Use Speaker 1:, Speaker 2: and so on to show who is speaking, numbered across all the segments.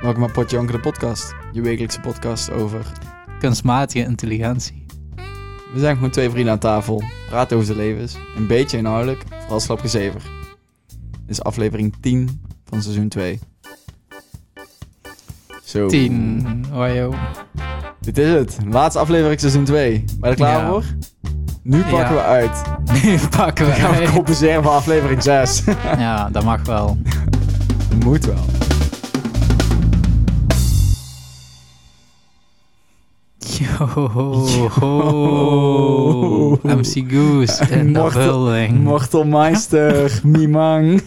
Speaker 1: Welkom bij Potje Onker, de podcast. Je wekelijkse podcast over...
Speaker 2: kunstmatige intelligentie.
Speaker 1: We zijn gewoon twee vrienden aan tafel, praten over de levens, een beetje inhoudelijk, vooral slapgezever. Dit is aflevering 10 van seizoen 2. Zo.
Speaker 2: 10. Wajo.
Speaker 1: Dit is het. Laatste aflevering seizoen 2. Ben je er klaar
Speaker 2: Ja.
Speaker 1: voor? Nu pakken
Speaker 2: Ja.
Speaker 1: we uit.
Speaker 2: Nu pakken we
Speaker 1: Dan gaan we
Speaker 2: uit.
Speaker 1: compenseren voor aflevering 6.
Speaker 2: Ja, dat mag wel.
Speaker 1: Moet wel.
Speaker 2: Yo, ho, ho. MC Goose in the
Speaker 1: Mortal-
Speaker 2: building.
Speaker 1: Mortal Meister, Mimang.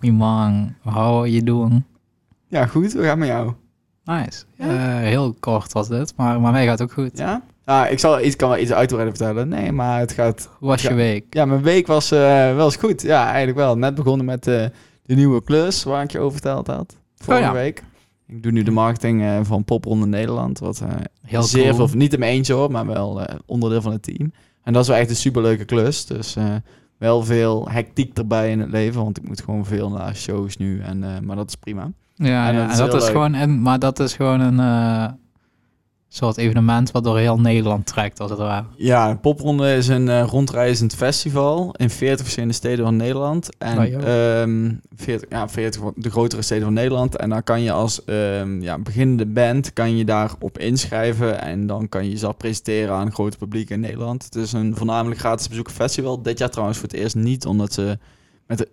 Speaker 2: Mimang, how are you doing?
Speaker 1: Ja, goed. We gaan met jou.
Speaker 2: Nice. Eh, heel kort was dit, maar, maar mij gaat ook goed.
Speaker 1: Ja? Ah, ik zal, ik kan wel iets uitbreiden vertellen. Nee, maar het gaat
Speaker 2: Hoe was
Speaker 1: Ja.
Speaker 2: je week?
Speaker 1: Ja, mijn week was eh, wel eens goed. Ja, eigenlijk wel. Net begonnen met eh, de nieuwe klus waar ik je over verteld had. Vorige
Speaker 2: Oh ja.
Speaker 1: week. Ik doe nu de marketing eh, van Popronde Nederland. Wat eh,
Speaker 2: Heel
Speaker 1: zeer
Speaker 2: cool.
Speaker 1: veel, niet in mijn eentje hoor, maar wel eh, onderdeel van het team. En dat is wel echt een superleuke klus. Dus eh, wel veel hectiek erbij in het leven. Want ik moet gewoon veel naar shows nu. En, eh, maar dat is prima.
Speaker 2: Ja,
Speaker 1: En
Speaker 2: ja,
Speaker 1: dat is
Speaker 2: en dat
Speaker 1: heel
Speaker 2: is
Speaker 1: leuk.
Speaker 2: gewoon, en, maar dat is gewoon een eh, soort evenement wat door heel Nederland trekt, als het ware.
Speaker 1: Ja, Popronde is een eh, rondreizend festival in 40 verschillende steden van Nederland. En
Speaker 2: Nou, joh.
Speaker 1: ehm, 40, ja, 40 van de grotere steden van Nederland. En dan kan je als ehm, ja, beginnende band kan je daarop inschrijven. En dan kan je jezelf presenteren aan een groot publiek in Nederland. Het is een voornamelijk gratis bezoekersfestival. Dit jaar trouwens voor het eerst niet, omdat ze met de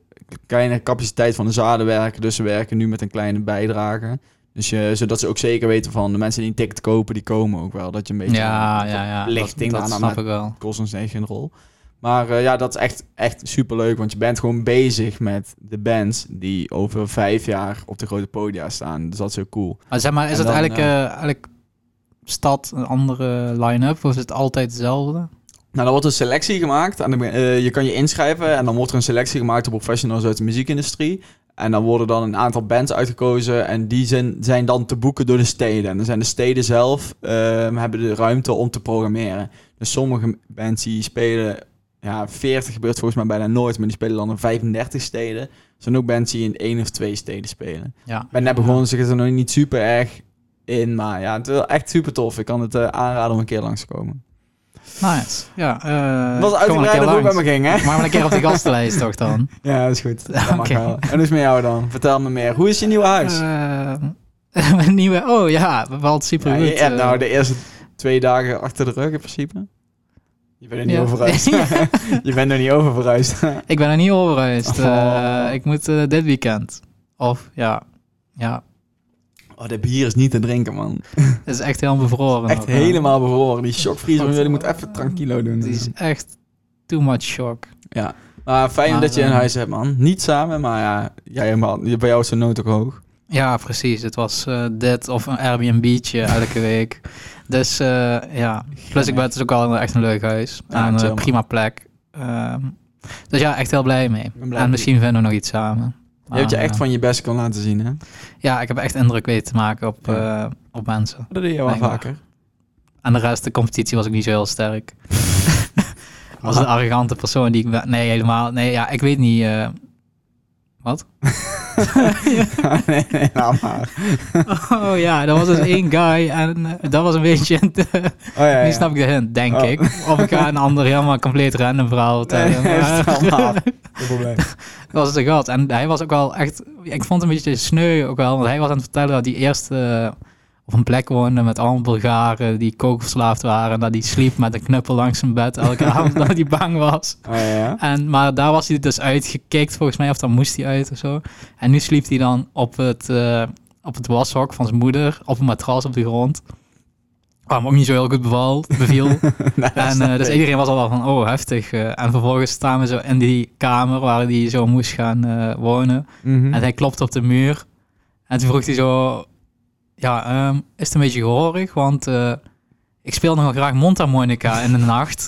Speaker 1: kleine capaciteit van de zalen werken. Dus ze werken nu met een kleine bijdrage. Dus je, zodat ze ook zeker weten van de mensen die een ticket kopen, die komen ook wel. Dat je een beetje
Speaker 2: Ja, ja, ja.
Speaker 1: verplichting
Speaker 2: dat, dat
Speaker 1: daarna
Speaker 2: snap ik wel.
Speaker 1: kost ons echt geen rol. Maar eh, ja, dat is echt, echt superleuk, want je bent gewoon bezig met de bands die over vijf jaar op de grote podia staan. Dus dat is heel cool.
Speaker 2: Maar zeg maar, is
Speaker 1: En
Speaker 2: het
Speaker 1: dan,
Speaker 2: eigenlijk, eh, elk stad een andere line-up? Of is het altijd hetzelfde?
Speaker 1: Nou, dan wordt een selectie gemaakt. En dan, eh, je kan je inschrijven en dan wordt er een selectie gemaakt door professionals uit de muziekindustrie. En dan worden dan een aantal bands uitgekozen en die zijn, zijn dan te boeken door de steden. En dan zijn de steden zelf, eh, hebben de ruimte om te programmeren. Dus sommige bands die spelen, ja, 40 gebeurt volgens mij bijna nooit, maar die spelen dan in 35 steden. Er zijn ook bands die in één of twee steden spelen.
Speaker 2: Ja.
Speaker 1: Maar net begonnen, ze zitten er nog niet super erg in, maar ja, het is wel echt super tof. Ik kan het eh, aanraden om een keer langs te komen.
Speaker 2: Nice. Ja, eh
Speaker 1: Het was
Speaker 2: kom maar een
Speaker 1: uitgebreid
Speaker 2: keer
Speaker 1: hoe het bij
Speaker 2: langs.
Speaker 1: me ging, hè?
Speaker 2: Maar maar een keer op de gastenlijst toch dan?
Speaker 1: Ja, dat is goed. Dat mag
Speaker 2: Oké.
Speaker 1: wel. En dus met jou dan? Vertel me meer. Hoe is je nieuwe huis?
Speaker 2: Eh, een nieuwe, oh ja, bevalt super
Speaker 1: ja,
Speaker 2: goed.
Speaker 1: je hebt
Speaker 2: eh.
Speaker 1: nou de eerste twee dagen achter de rug in principe. Je bent er niet
Speaker 2: Ja.
Speaker 1: over vooruit. je bent er niet over vooruit.
Speaker 2: ik ben er niet over geweest. Eh,
Speaker 1: Oh.
Speaker 2: ik moet eh, dit weekend. Of ja, ja,
Speaker 1: oh, dat bier is niet te drinken, man.
Speaker 2: het is echt helemaal bevroren.
Speaker 1: Echt
Speaker 2: nog, hè.
Speaker 1: helemaal bevroren. Die shockvriezer,
Speaker 2: Wat-
Speaker 1: je moet even tranquilo doen.
Speaker 2: Het is echt too much shock.
Speaker 1: Maar fijn
Speaker 2: Maar,
Speaker 1: dat je een
Speaker 2: eh,
Speaker 1: huis hebt, man. Niet samen, maar ja, jij, man, je- bij jou is de nood ook hoog.
Speaker 2: Ja, precies. Het was eh, dit of een Airbnb'tje elke week. Dus eh, ja, plus ik ben het is ook al een- echt een leuk huis.
Speaker 1: Ja,
Speaker 2: en
Speaker 1: chill,
Speaker 2: een
Speaker 1: man.
Speaker 2: prima plek. Ehm, dus ja, echt heel blij mee.
Speaker 1: ben blij
Speaker 2: en
Speaker 1: met
Speaker 2: misschien vinden we nog iets samen.
Speaker 1: Je hebt je
Speaker 2: Maar,
Speaker 1: echt
Speaker 2: eh,
Speaker 1: van je best kan laten zien, hè?
Speaker 2: Ja, ik heb echt indruk weten te maken op,
Speaker 1: Ja.
Speaker 2: eh, op mensen.
Speaker 1: Dat doe je wel
Speaker 2: Blijkbaar.
Speaker 1: vaker.
Speaker 2: En de rest, de competitie was ik niet zo heel sterk. Als een arrogante persoon die ik ben. Nee, helemaal. Nee, ja, ik weet niet. eh,
Speaker 1: nee, nee, laat maar.
Speaker 2: Oh ja, dat was dus één guy. En eh, dat was een beetje...
Speaker 1: Oh, ja, ja.
Speaker 2: Nu snap ik de hint, denk
Speaker 1: Oh.
Speaker 2: ik. Of ik ga een ander helemaal compleet random verhaal vertellen.
Speaker 1: Nee,
Speaker 2: maar-
Speaker 1: vertel maar. Geen probleem.
Speaker 2: dat was de gat. En hij was ook wel echt... Ik vond het een beetje sneu ook wel. Want hij was aan het vertellen dat die eerst eh, op een plek woonde met allemaal Bulgaren die kookverslaafd waren. En dat hij sliep met een knuppel langs zijn bed elke avond dat hij bang was.
Speaker 1: Oh, ja, ja.
Speaker 2: En, maar daar was hij dus uitgekikt volgens mij. Of dan moest hij uit of zo. En nu sliep hij dan op het, eh, op het washok van zijn moeder. Op een matras op de grond. Waar hem ook niet zo heel goed beval, beviel.
Speaker 1: Nou, dat
Speaker 2: En
Speaker 1: snap
Speaker 2: eh, dus
Speaker 1: ik.
Speaker 2: iedereen was al wel van, oh, heftig. eh. en vervolgens staan we zo in die kamer waar hij zo moest gaan eh, wonen.
Speaker 1: Mhm.
Speaker 2: En hij klopte op de muur. En toen vroeg hij zo, ja, ehm, is het een beetje gehoorig? Want eh, ik speel nogal graag mondharmonica in de nacht.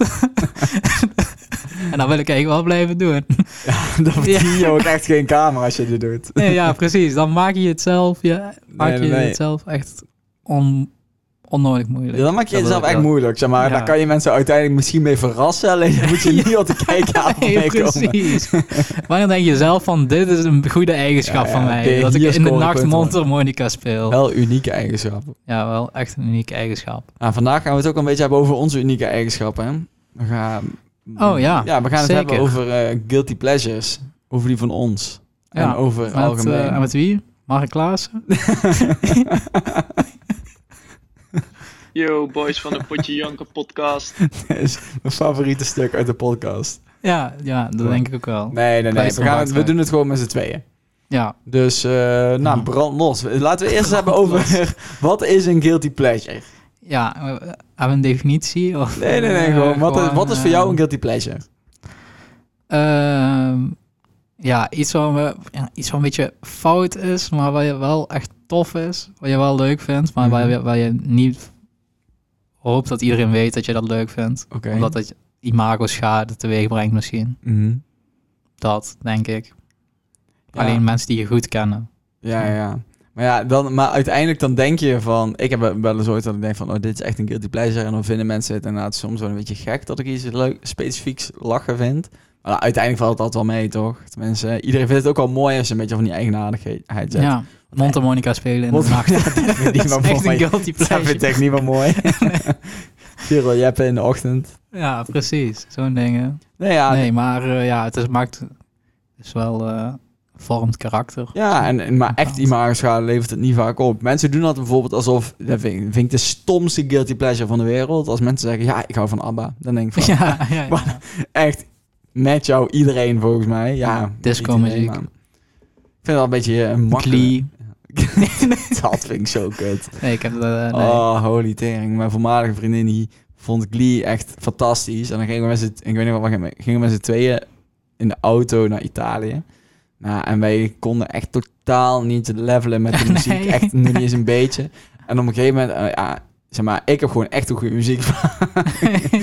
Speaker 2: en dat wil ik eigenlijk wel blijven doen.
Speaker 1: Dan verdien je ook echt geen kamer als je dit doet.
Speaker 2: Nee, ja, precies. Dan maak je het zelf, ja, maak
Speaker 1: Nee,
Speaker 2: je
Speaker 1: nee.
Speaker 2: het zelf echt on, onnodig moeilijk.
Speaker 1: Ja, dan maak je
Speaker 2: Dat
Speaker 1: jezelf
Speaker 2: wil ik
Speaker 1: echt
Speaker 2: wel.
Speaker 1: moeilijk, zeg maar.
Speaker 2: Ja.
Speaker 1: Daar kan je mensen uiteindelijk misschien mee verrassen. Alleen dan moet je niet op de kijkavond
Speaker 2: Nee,
Speaker 1: mee komen.
Speaker 2: precies. Wanneer denk je zelf van, dit is een goede
Speaker 1: Ja,
Speaker 2: eigenschap
Speaker 1: ja,
Speaker 2: van mij.
Speaker 1: oké,
Speaker 2: dat ik
Speaker 1: hier
Speaker 2: in de
Speaker 1: scoren
Speaker 2: nacht
Speaker 1: punten.
Speaker 2: mondharmonica speel.
Speaker 1: Wel unieke eigenschappen.
Speaker 2: Ja, wel echt een unieke eigenschap.
Speaker 1: Nou, vandaag gaan we het ook een beetje hebben over onze unieke eigenschappen. Hè? We gaan,
Speaker 2: Oh, ja.
Speaker 1: Ja, we gaan het
Speaker 2: Zeker.
Speaker 1: hebben over eh, guilty pleasures. Over die van ons.
Speaker 2: Ja,
Speaker 1: en over
Speaker 2: Met,
Speaker 1: het algemeen.
Speaker 2: eh, en met wie? Mark Klaassen?
Speaker 3: Yo, boys van de Potje Janken podcast.
Speaker 1: Dat is mijn favoriete stuk uit de podcast.
Speaker 2: Ja, ja dat
Speaker 1: Ja.
Speaker 2: denk ik ook wel.
Speaker 1: Nee, nee, nee.
Speaker 2: Luister
Speaker 1: We, gaan
Speaker 2: maar
Speaker 1: het- we
Speaker 2: uit.
Speaker 1: doen het gewoon met z'n tweeën.
Speaker 2: Ja,
Speaker 1: Dus, eh nou,
Speaker 2: Ja.
Speaker 1: brand los. Laten we eerst hebben over... wat is een guilty pleasure?
Speaker 2: ja eh, hebben we een definitie? Of,
Speaker 1: Nee, nee, nee.
Speaker 2: eh,
Speaker 1: Gewoon, wat, is, wat is voor jou een
Speaker 2: eh,
Speaker 1: guilty pleasure?
Speaker 2: ehm, ja, iets wat, we, ja, iets wat een beetje fout is, maar wat je wel echt tof is. Wat je wel leuk vindt, maar
Speaker 1: Mhm.
Speaker 2: waar, je, waar je niet hoopt dat iedereen weet dat je dat leuk vindt.
Speaker 1: Oké.
Speaker 2: Omdat dat je imago-schade teweeg brengt misschien.
Speaker 1: Mhm.
Speaker 2: Dat, denk ik.
Speaker 1: Ja.
Speaker 2: Alleen mensen die je goed kennen.
Speaker 1: Ja, ja. Maar ja, dan, maar uiteindelijk dan denk je van... Ik heb wel eens ooit dat ik denk van... Oh, dit is echt een guilty pleasure. En dan vinden mensen het inderdaad soms wel een beetje gek... dat ik iets leuk, specifieks lachen vind. Maar nou, uiteindelijk valt dat wel mee, toch? Tenminste, eh, iedereen vindt het ook wel mooi... als je een beetje van die eigenaardigheid zet.
Speaker 2: Ja, mondharmonica spelen in
Speaker 1: Mond-
Speaker 2: de nacht.
Speaker 1: Ja, dat vind ik
Speaker 2: dat is
Speaker 1: wel
Speaker 2: echt
Speaker 1: mooi.
Speaker 2: een guilty
Speaker 1: Dat vind
Speaker 2: pleasure.
Speaker 1: ik niet meer mooi. Cyril Jeppen in de ochtend.
Speaker 2: Ja, precies. Zo'n dingen.
Speaker 1: Nee, ja,
Speaker 2: nee, maar eh, ja, het is, maakt het is wel eh, vormt karakter.
Speaker 1: Ja, en, en- maar echt imago-schade levert het niet vaak op. Mensen doen dat bijvoorbeeld alsof... Dat vind, ik- vind ik de stomste guilty pleasure van de wereld. Als mensen zeggen, ja, ik hou van ABBA. Dan denk ik van,
Speaker 2: Ja, ja, ja.
Speaker 1: Wat? echt, met jou iedereen volgens mij. Ja,
Speaker 2: Disco-muziek.
Speaker 1: iedereen, maar Ik vind het wel een beetje eh, makkelijk.
Speaker 2: Glee.
Speaker 1: dat vind ik zo kut.
Speaker 2: Nee, ik heb dat. eh, nee.
Speaker 1: Oh, holy tering. Mijn voormalige vriendin die vond Glee echt fantastisch. En dan gingen we met z'n, ik weet niet wat, we gingen- gingen we met z'n tweeën in de auto naar Italië. Nou, en wij konden echt totaal niet levelen met de muziek.
Speaker 2: Nee.
Speaker 1: Echt nog niet eens een beetje. En op een gegeven moment, eh, ja, zeg maar, ik heb gewoon echt een goede muziek.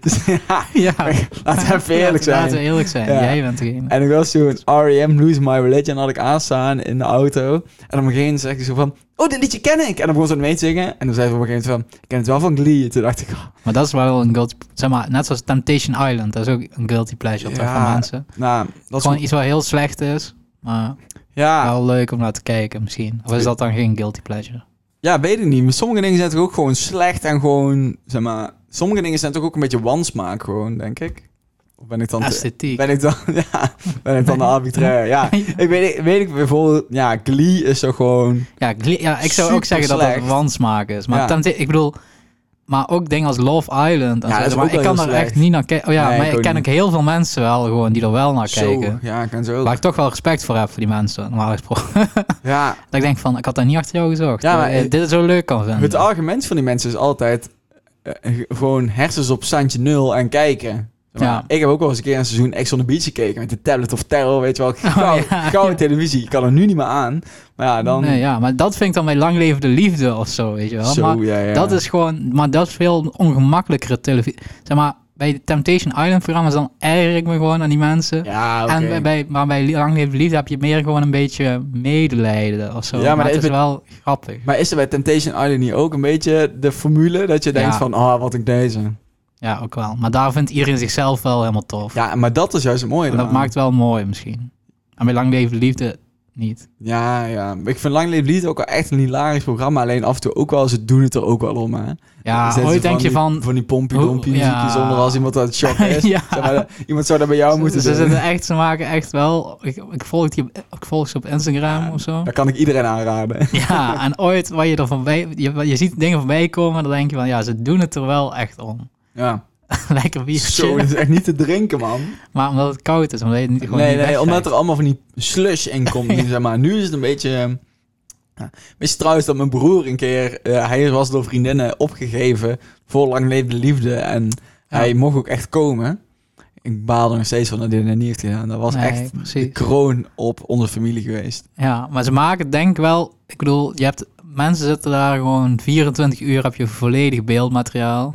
Speaker 1: dus ja,
Speaker 2: ja.
Speaker 1: laten we even eerlijk zijn.
Speaker 2: Laten we eerlijk zijn.
Speaker 1: Ja.
Speaker 2: Jij bent degene.
Speaker 1: En ik was toen R.E.M. E Lose My Religion had ik aanstaan in de auto. En op een gegeven moment zegt hij zo van... Oh, dit liedje ken ik! En dan begon ze het mee te zingen. En dan zei ze op een gegeven moment van... Ik ken het wel van Glee. Toen dacht ik... oh,
Speaker 2: Maar dat is wel een guilty. Zeg maar, net zoals Temptation Island. Dat is ook een guilty pleasure toch,
Speaker 1: Ja,
Speaker 2: van mensen.
Speaker 1: nou, dat is
Speaker 2: Gewoon
Speaker 1: gewoon...
Speaker 2: iets wat heel slecht is. Maar
Speaker 1: Ja,
Speaker 2: wel leuk om naar te kijken misschien. Of is dat dan geen guilty pleasure?
Speaker 1: ja, weet ik niet. Maar sommige dingen zijn toch ook gewoon slecht en gewoon... Zeg maar... Sommige dingen zijn toch ook een beetje wansmaak gewoon, denk ik. Of ben ik dan... te-
Speaker 2: Esthetiek.
Speaker 1: ben ik dan... Ja, ben ik dan de arbitraire? Ja. Ik weet, ik weet ik bijvoorbeeld... Ja, Glee is toch gewoon...
Speaker 2: Ja, Glee- ja ik zou ook
Speaker 1: Super
Speaker 2: zeggen dat
Speaker 1: slecht.
Speaker 2: dat wansmaak is. Maar
Speaker 1: Ja.
Speaker 2: Tempta- ik bedoel, maar ook dingen als Love Island. En
Speaker 1: Ja,
Speaker 2: zo,
Speaker 1: dat is
Speaker 2: maar
Speaker 1: ook
Speaker 2: ik
Speaker 1: wel
Speaker 2: kan
Speaker 1: heel
Speaker 2: er echt
Speaker 1: slecht.
Speaker 2: niet naar kijken. Oh ja,
Speaker 1: Nee,
Speaker 2: maar
Speaker 1: ik
Speaker 2: ik
Speaker 1: ook
Speaker 2: ken
Speaker 1: niet.
Speaker 2: ook heel veel mensen wel gewoon die er wel naar kijken.
Speaker 1: Zo, ja, ik kan zo.
Speaker 2: Waar ik toch wel respect voor heb voor die mensen, normaal gesproken.
Speaker 1: Ja,
Speaker 2: dat ik denk van, ik had daar niet achter jou gezocht.
Speaker 1: Ja, maar
Speaker 2: Eh,
Speaker 1: ik-
Speaker 2: dit is zo leuk kan vinden.
Speaker 1: Het argument van die mensen is altijd eh, eh, gewoon hersens op standje nul en kijken. Zeg maar,
Speaker 2: Ja.
Speaker 1: Ik heb ook wel eens een keer een seizoen Ex on the Beach gekeken met de tablet of terror, weet je wel. Gauw,
Speaker 2: Oh, ja,
Speaker 1: gauw
Speaker 2: ja.
Speaker 1: televisie, ik kan er nu niet meer aan. Maar ja, dan...
Speaker 2: nee, ja, maar dat vind ik dan bij lang levende liefde of zo, weet je wel.
Speaker 1: zo,
Speaker 2: maar
Speaker 1: ja, ja.
Speaker 2: dat is gewoon, maar dat is veel ongemakkelijkere televisie. Zeg maar, bij de Temptation Island programma's dan erger ik me gewoon aan die mensen.
Speaker 1: Ja, oké.
Speaker 2: En bij- bij, maar bij Lang Leef de Liefde heb je meer gewoon een beetje medelijden of zo.
Speaker 1: Ja,
Speaker 2: Ja,
Speaker 1: maar
Speaker 2: maar,
Speaker 1: dat
Speaker 2: het
Speaker 1: is
Speaker 2: is wel grappig.
Speaker 1: Maar is er bij Temptation Island niet ook een beetje de formule dat je denkt
Speaker 2: Ja.
Speaker 1: van, ah, wat ik deze.
Speaker 2: Ja, ook wel. Maar daar vindt iedereen zichzelf wel helemaal tof.
Speaker 1: Ja, maar dat is juist het mooie
Speaker 2: en dat
Speaker 1: eraan.
Speaker 2: maakt wel mooi misschien. En bij Lang Leef de Liefde niet.
Speaker 1: Ja, ja. Ik vind Lang Leef Lied ook wel echt een hilarisch programma. Alleen af en toe ook wel, ze doen het er ook wel om, hè.
Speaker 2: Ja,
Speaker 1: Zetten ze
Speaker 2: ooit denk
Speaker 1: die-
Speaker 2: je van...
Speaker 1: Van die
Speaker 2: Hoe-
Speaker 1: pompie-dompie
Speaker 2: ja.
Speaker 1: muziekjes onder als iemand aan het shoppen is.
Speaker 2: Ja.
Speaker 1: Zeg maar, iemand zou dat bij jou
Speaker 2: Ze,
Speaker 1: moeten
Speaker 2: ze,
Speaker 1: doen.
Speaker 2: zitten echt, ze maken echt wel... Ik, ik, volg die, ik volg ze op Instagram of zo.
Speaker 1: Dat kan ik iedereen aanraden.
Speaker 2: Ja, en ooit, waar je er voorbij... Je, je ziet dingen voorbij komen en dan denk je van... Ja, ze doen het er wel echt om.
Speaker 1: Ja.
Speaker 2: Lekker
Speaker 1: Zo,
Speaker 2: biertje.
Speaker 1: dat is echt niet te drinken, man.
Speaker 2: Maar omdat het koud is, omdat je het niet gewoon
Speaker 1: nee,
Speaker 2: niet
Speaker 1: nee,
Speaker 2: wegkrijgt.
Speaker 1: omdat er allemaal van die slush in komt. nu, zeg maar. Nu is het een beetje... ehm, Ja. Wist je trouwens dat mijn broer een keer... eh, hij was door vriendinnen opgegeven voor lang leefde liefde. En hij mocht ook echt komen. Ik baal er nog steeds van dat hij dat niet heeft gedaan. Dat was
Speaker 2: Nee,
Speaker 1: echt de
Speaker 2: precies.
Speaker 1: kroon op onze familie geweest.
Speaker 2: Ja, maar ze maken het denk ik wel... Ik bedoel, je hebt, mensen zitten daar gewoon 24 uur, heb je volledig beeldmateriaal.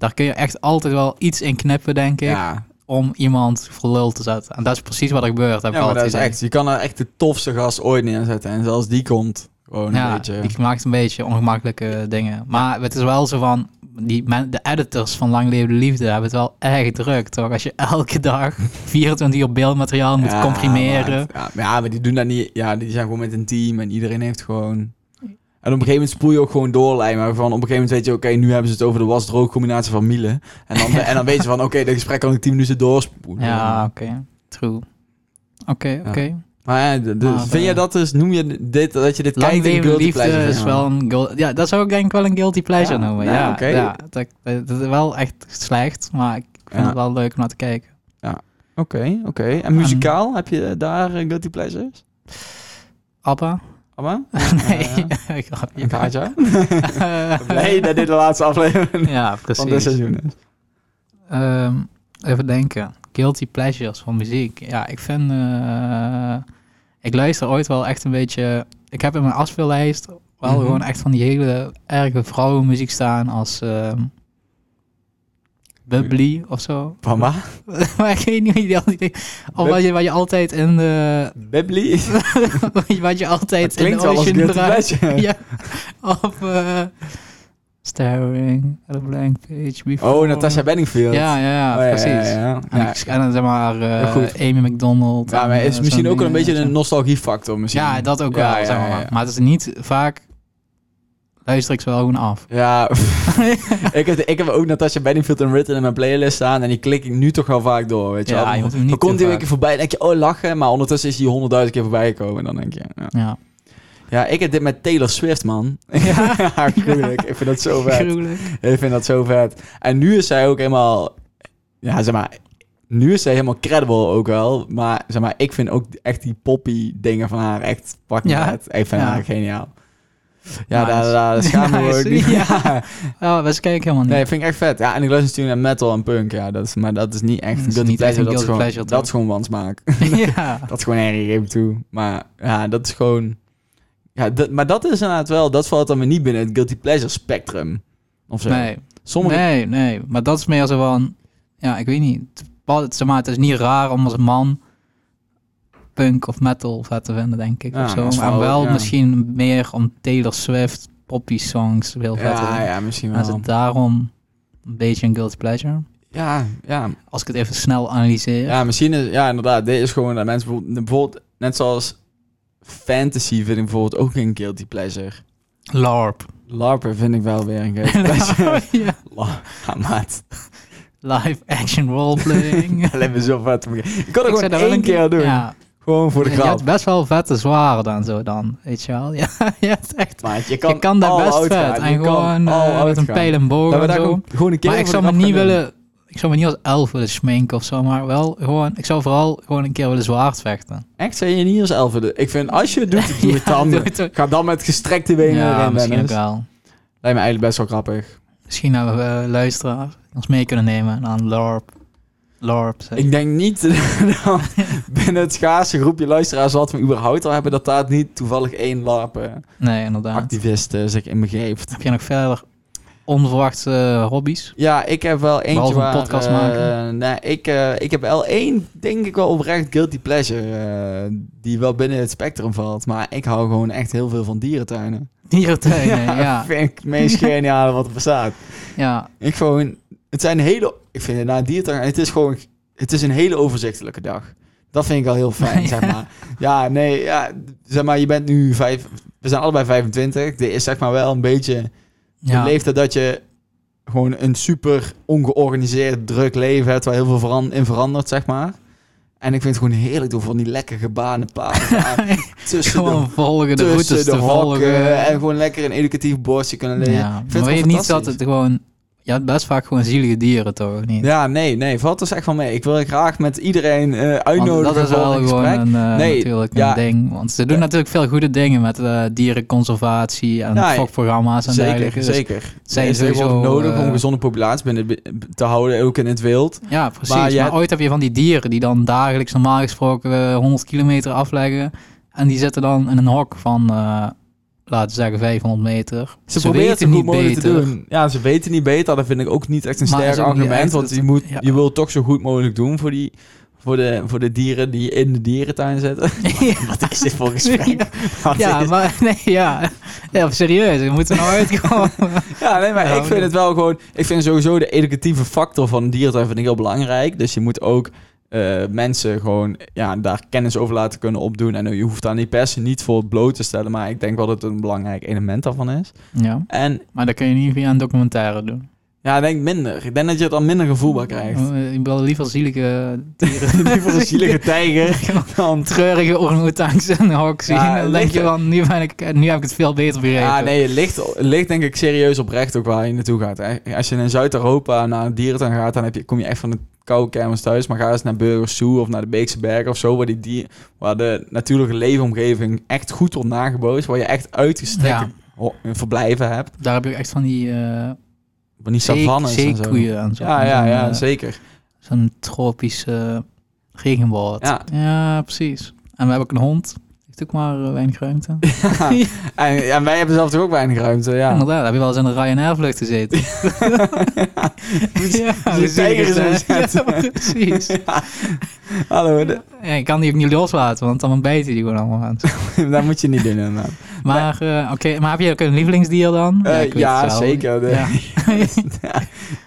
Speaker 2: Daar kun je echt altijd wel iets in knippen, denk ik,
Speaker 1: Ja,
Speaker 2: om iemand voor lul te zetten. En dat is precies wat er gebeurt, heb ik
Speaker 1: Ja, maar
Speaker 2: altijd
Speaker 1: dat is
Speaker 2: het idee.
Speaker 1: echt. Je kan er echt de tofste gast ooit neerzetten. En zelfs die komt Gewoon een
Speaker 2: ja,
Speaker 1: beetje...
Speaker 2: die maakt een beetje ongemakkelijke dingen. Maar het is wel zo van, die men, de editors van Lang Leven de Liefde hebben het wel erg druk, toch? Als je elke dag 24 uur beeldmateriaal moet
Speaker 1: Ja,
Speaker 2: comprimeren.
Speaker 1: Maar, ja, maar, ja, maar die doen dat niet. Ja, die zijn gewoon met een team en iedereen heeft gewoon. En op een gegeven moment spoel je ook gewoon door, lijkt me. Van op een gegeven moment weet je, oké, nu hebben ze het over de was-droog combinatie van Miele. En dan, en dan weet je van, oké, dat gesprek kan ik 10 minuten doorspoelen.
Speaker 2: Ja, oké. True. Oké, oké.
Speaker 1: Maar ja, d- dus
Speaker 2: Maar,
Speaker 1: vind je
Speaker 2: eh,
Speaker 1: dat dus, noem je dit, dat je dit
Speaker 2: Lang
Speaker 1: kijkt in
Speaker 2: leven
Speaker 1: guilty
Speaker 2: liefde
Speaker 1: pleasure,
Speaker 2: is
Speaker 1: ja.
Speaker 2: wel een guil- Ja, dat zou ik denk ik wel een guilty pleasure
Speaker 1: Ja,
Speaker 2: noemen.
Speaker 1: nou,
Speaker 2: ja,
Speaker 1: oké.
Speaker 2: ja dat, dat is wel echt slecht, maar ik vind
Speaker 1: Ja.
Speaker 2: het wel leuk om naar te kijken.
Speaker 1: Oké, oké.
Speaker 2: Ehm.
Speaker 1: En muzikaal, heb je daar eh, guilty pleasures?
Speaker 2: Abba?
Speaker 1: Abba?
Speaker 2: nee, oh grapje.
Speaker 1: Je gaat jou? Nee, dat dit de laatste aflevering
Speaker 2: ja,
Speaker 1: van dit
Speaker 2: precies.
Speaker 1: seizoen is.
Speaker 2: Ehm, even denken. Guilty pleasures van muziek. Ja, ik vind... eh, ik luister ooit wel echt een beetje... Ik heb in mijn afspeellijst wel
Speaker 1: Mhm.
Speaker 2: gewoon echt van die hele erge vrouwenmuziek staan als... ehm Bubbly of zo.
Speaker 1: Mama?
Speaker 2: maar ik weet niet hoe je die altijd... Of wat je, wat je altijd in de...
Speaker 1: Bibli?
Speaker 2: wat je altijd
Speaker 1: Het
Speaker 2: in
Speaker 1: klinkt
Speaker 2: de
Speaker 1: wel als
Speaker 2: ocean
Speaker 1: guilty
Speaker 2: draait.
Speaker 1: pleasure.
Speaker 2: ja. Of... eh, staring at a blank page before...
Speaker 1: Oh, Natasha Benningfield.
Speaker 2: Ja, ja, ja,
Speaker 1: Oh,
Speaker 2: precies.
Speaker 1: ja,
Speaker 2: En,
Speaker 1: ja.
Speaker 2: ik- en dan zeg maar eh,
Speaker 1: Ja, goed.
Speaker 2: Amy McDonald.
Speaker 1: Ja, maar
Speaker 2: en,
Speaker 1: het is
Speaker 2: eh,
Speaker 1: misschien
Speaker 2: zo'n
Speaker 1: ook wel een
Speaker 2: dingen,
Speaker 1: beetje
Speaker 2: weet
Speaker 1: een nostalgiefactor
Speaker 2: je.
Speaker 1: misschien.
Speaker 2: Ja, dat ook
Speaker 1: Ja,
Speaker 2: wel,
Speaker 1: ja,
Speaker 2: zeg maar.
Speaker 1: ja, ja.
Speaker 2: Maar het is niet vaak... Luister ik ze wel gewoon af.
Speaker 1: Ja, ik, heb, ik heb ook Natasha Bedingfield en Written in mijn playlist staan en die klik ik nu toch wel vaak door, weet je
Speaker 2: Ja,
Speaker 1: wel.
Speaker 2: je moet hem niet
Speaker 1: Dan komt
Speaker 2: te
Speaker 1: die weer
Speaker 2: vaak-
Speaker 1: keer voorbij en denk je, oh lachen, maar ondertussen is die honderdduizend keer voorbij gekomen en dan denk je, ja.
Speaker 2: Ja,
Speaker 1: ja. ik heb dit met Taylor Swift, man.
Speaker 2: Ja.
Speaker 1: ja, gruwelijk. Ik vind dat zo vet.
Speaker 2: gruwelijk.
Speaker 1: Ik vind dat zo vet. En nu is zij ook helemaal... Ja, zeg maar... Nu is zij helemaal credible ook wel. Maar zeg maar, ik vind ook echt die poppy dingen van haar echt fucking
Speaker 2: Ja.
Speaker 1: vet. Ik vind
Speaker 2: Ja.
Speaker 1: haar geniaal. Ja,
Speaker 2: Nice.
Speaker 1: daar, daar schaam ik me ook
Speaker 2: Nice.
Speaker 1: niet.
Speaker 2: Ja. Ja, we kijken helemaal niet.
Speaker 1: Nee, vind ik echt vet. Ja, en ik luister natuurlijk naar metal en punk. Ja, dat is, maar dat is niet echt
Speaker 2: Dat
Speaker 1: een
Speaker 2: is
Speaker 1: guilty
Speaker 2: niet echt
Speaker 1: pleasure.
Speaker 2: een
Speaker 1: Dat is
Speaker 2: guilty
Speaker 1: gewoon, dat
Speaker 2: pleasure,
Speaker 1: is
Speaker 2: toch?
Speaker 1: gewoon wansmaak.
Speaker 2: ja.
Speaker 1: dat is gewoon erg, ik geef het toe. Maar ja, dat is gewoon... Ja, dat, maar dat is inderdaad wel... Dat valt dan weer niet binnen het guilty pleasure spectrum. Of zo.
Speaker 2: Nee,
Speaker 1: Sommige
Speaker 2: nee, nee. Maar dat is meer zo van... Ja, ik weet niet. Het- wat- Zeg maar, het is niet raar om als man punk of metal vet te vinden, denk ik.
Speaker 1: Ja,
Speaker 2: of zo.
Speaker 1: als
Speaker 2: Maar
Speaker 1: vrouw,
Speaker 2: wel
Speaker 1: ja.
Speaker 2: misschien meer om Taylor Swift poppy songs heel vet te
Speaker 1: Ja,
Speaker 2: vinden.
Speaker 1: ja, misschien
Speaker 2: En is
Speaker 1: wel.
Speaker 2: het daarom een beetje een guilty pleasure?
Speaker 1: Ja, ja.
Speaker 2: Als ik het even snel analyseer.
Speaker 1: ja, misschien is... Ja, inderdaad. Dit is gewoon dat mensen bijvoorbeeld... bijvoorbeeld net zoals fantasy vind ik bijvoorbeeld ook een guilty pleasure.
Speaker 2: LARP.
Speaker 1: LARPen vind ik wel weer een guilty pleasure.
Speaker 2: Ja.
Speaker 1: La- ja, maat.
Speaker 2: Live action roleplaying. Ik
Speaker 1: Alleen maar zo vet. om- Ik kon het
Speaker 2: zou
Speaker 1: gewoon
Speaker 2: dat wel
Speaker 1: één
Speaker 2: een
Speaker 1: keer doen.
Speaker 2: Ja.
Speaker 1: Gewoon voor de
Speaker 2: Je
Speaker 1: grap.
Speaker 2: hebt best wel vette zware dan zo dan. Weet je wel? Ja, je hebt echt...
Speaker 1: Maat, je
Speaker 2: Je kan daar
Speaker 1: al
Speaker 2: best
Speaker 1: oud
Speaker 2: vet.
Speaker 1: gaan.
Speaker 2: En
Speaker 1: Je kan
Speaker 2: gewoon
Speaker 1: al
Speaker 2: eh,
Speaker 1: oud
Speaker 2: met een
Speaker 1: gaan.
Speaker 2: pijl en boog
Speaker 1: Dat we
Speaker 2: en
Speaker 1: daar
Speaker 2: zo.
Speaker 1: gewoon, gewoon een keer
Speaker 2: Maar ik
Speaker 1: voor de
Speaker 2: zou me
Speaker 1: grap
Speaker 2: niet
Speaker 1: gaan doen.
Speaker 2: willen... Ik zou me niet als elf willen sminken of zo, maar wel gewoon... Ik zou vooral gewoon een keer willen zwaard vechten.
Speaker 1: Echt, zei je niet als elfen. Ik vind, als je het doet, doe het
Speaker 2: Ja,
Speaker 1: dan.
Speaker 2: doe het ook.
Speaker 1: Ga dan met gestrekte benen
Speaker 2: Ja,
Speaker 1: erin,
Speaker 2: misschien ook
Speaker 1: Dennis.
Speaker 2: wel.
Speaker 1: Lijkt me eigenlijk best wel grappig.
Speaker 2: Misschien hebben we luisteraars die ons mee kunnen nemen aan LARP. LARP. zeg.
Speaker 1: Ik denk niet dat binnen het schaarse groepje luisteraars wat we überhaupt al hebben, dat daar niet toevallig één larpen
Speaker 2: Nee, inderdaad.
Speaker 1: activist eh, zich in begeeft.
Speaker 2: Heb je nog verder onverwachte eh, hobby's?
Speaker 1: Ja, ik heb wel eentje
Speaker 2: Behalve een
Speaker 1: waar,
Speaker 2: podcast
Speaker 1: eh,
Speaker 2: maken.
Speaker 1: nee, ik, eh, ik heb wel één, denk ik wel oprecht, guilty pleasure. eh, die wel binnen het spectrum valt. Maar ik hou gewoon echt heel veel van dierentuinen.
Speaker 2: Dierentuinen, eh, ja.
Speaker 1: vind ik het meest geniale wat er bestaat.
Speaker 2: ja.
Speaker 1: Ik gewoon, het zijn hele, ik vind het na een diertuin, het is gewoon, het is een hele overzichtelijke dag. Dat vind ik al heel fijn, zeg maar. Ja, nee, ja, zeg maar, je bent nu vijf, we zijn allebei 25. Dit is zeg maar wel een beetje
Speaker 2: Ja.
Speaker 1: de leeftijd dat je gewoon een super ongeorganiseerd, druk leven hebt, waar heel veel veran- in verandert, zeg maar. En ik vind het gewoon heerlijk door van die lekker gebane paden daar tussen de,
Speaker 2: Gewoon volgen, de
Speaker 1: tussen
Speaker 2: routes
Speaker 1: de
Speaker 2: te
Speaker 1: hokken
Speaker 2: volgen.
Speaker 1: en gewoon lekker een educatief bordje kunnen lezen. Ik vind
Speaker 2: ja. Maar
Speaker 1: het
Speaker 2: weet je
Speaker 1: gewoon
Speaker 2: niet dat
Speaker 1: fantastisch.
Speaker 2: het gewoon... Je hebt best vaak gewoon zielige dieren, toch? of Niet?
Speaker 1: Ja, nee, nee, valt dus echt van mee. Ik wil graag met iedereen eh
Speaker 2: Want
Speaker 1: uitnodigen
Speaker 2: dat is
Speaker 1: voor
Speaker 2: wel
Speaker 1: een
Speaker 2: gewoon
Speaker 1: gesprek.
Speaker 2: een, eh,
Speaker 1: Nee,
Speaker 2: natuurlijk een
Speaker 1: ja.
Speaker 2: ding. Want ze doen
Speaker 1: Ja.
Speaker 2: natuurlijk veel goede dingen met eh, dierenconservatie en
Speaker 1: Ja,
Speaker 2: fokprogramma's en
Speaker 1: Zeker,
Speaker 2: dergelijke. Dus
Speaker 1: zeker.
Speaker 2: zijn
Speaker 1: Er is heel
Speaker 2: sowieso,
Speaker 1: wat nodig om
Speaker 2: eh,
Speaker 1: gezonde populatie binnen te houden, ook in het wild.
Speaker 2: Ja, precies.
Speaker 1: Maar
Speaker 2: Maar,
Speaker 1: je hebt-
Speaker 2: ooit heb je van die dieren die dan dagelijks normaal gesproken eh, 100 kilometer afleggen. En die zitten dan in een hok van, eh, laten we zeggen, 500 meter.
Speaker 1: Ze, proberen het
Speaker 2: weten
Speaker 1: zo goed mogelijk te doen. Ja, ze weten niet beter. Dat vind ik ook niet echt een
Speaker 2: Maar
Speaker 1: sterk
Speaker 2: is ook niet
Speaker 1: argument.
Speaker 2: echt
Speaker 1: want
Speaker 2: het-
Speaker 1: je, moet,
Speaker 2: ja.
Speaker 1: je wil het toch zo goed mogelijk doen voor die, Voor de, voor de dieren die in de dierentuin zitten. Wat is dit voor gesprek? Wat
Speaker 2: Ja,
Speaker 1: is-
Speaker 2: maar nee, ja. Nee, op serieus, we moeten er nou uitkomen.
Speaker 1: Ja, nee, maar
Speaker 2: Ja,
Speaker 1: ik vind het wel gewoon... Ik vind sowieso de educatieve factor van een dierentuin vind ik heel belangrijk. Dus je moet ook eh, mensen gewoon ja, daar kennis over laten kunnen opdoen. En je hoeft daar niet per se niet voor bloot te stellen. Maar ik denk wel dat het een belangrijk element daarvan is.
Speaker 2: ja,
Speaker 1: En
Speaker 2: maar dat kun je niet via een documentaire doen.
Speaker 1: ja, ik denk minder. Ik denk dat je het dan minder gevoelbaar krijgt.
Speaker 2: Eh, Ik wil liever zielige dieren.
Speaker 1: Liever een zielige tijger dan...
Speaker 2: Treurige orangutans in een hok zien.
Speaker 1: Ja,
Speaker 2: dan denk je
Speaker 1: ligt-
Speaker 2: van, nu, ben ik, nu heb ik het veel beter begrepen.
Speaker 1: Ja, nee, het ligt, het ligt denk ik serieus oprecht ook waar je naartoe gaat. hè. Als je in Zuid-Europa naar een dierentuin gaat, dan heb je, kom je echt van de koude kermis thuis. Maar ga eens naar Burgers Zoo of naar de Beekse Bergen of zo, waar, die dier, waar de natuurlijke leefomgeving echt goed wordt nagebootst. Waar je echt uitgestrekte
Speaker 2: Ja.
Speaker 1: ho- verblijven hebt.
Speaker 2: Daar heb je echt van die eh
Speaker 1: Van die
Speaker 2: zee-
Speaker 1: savannes en zo.
Speaker 2: zeekoeien en zo.
Speaker 1: Ja, ja,
Speaker 2: Zo'n,
Speaker 1: ja,
Speaker 2: eh,
Speaker 1: zeker.
Speaker 2: Zo'n tropisch eh, regenwoud.
Speaker 1: Ja.
Speaker 2: precies. En we hebben ook een hond. Heeft ook maar eh, weinig ruimte.
Speaker 1: en, en wij hebben zelf toch ook weinig ruimte, ja.
Speaker 2: Inderdaad, heb je wel eens in een Ryanair-vlucht gezeten? ja,
Speaker 1: je
Speaker 2: we zien
Speaker 1: tijger
Speaker 2: het,
Speaker 1: in
Speaker 2: hè.
Speaker 1: zo'n zet.
Speaker 2: Ja, precies.
Speaker 1: Hallo, de-
Speaker 2: Ja, je kan die ook niet loslaten, want dan bijten die gewoon allemaal aan.
Speaker 1: dat moet je niet doen inderdaad.
Speaker 2: Maar, eh, oké, maar heb je ook een lievelingsdier dan?
Speaker 1: Eh,
Speaker 2: ik weet
Speaker 1: ja,
Speaker 2: het wel.
Speaker 1: zeker. De-
Speaker 2: Ja.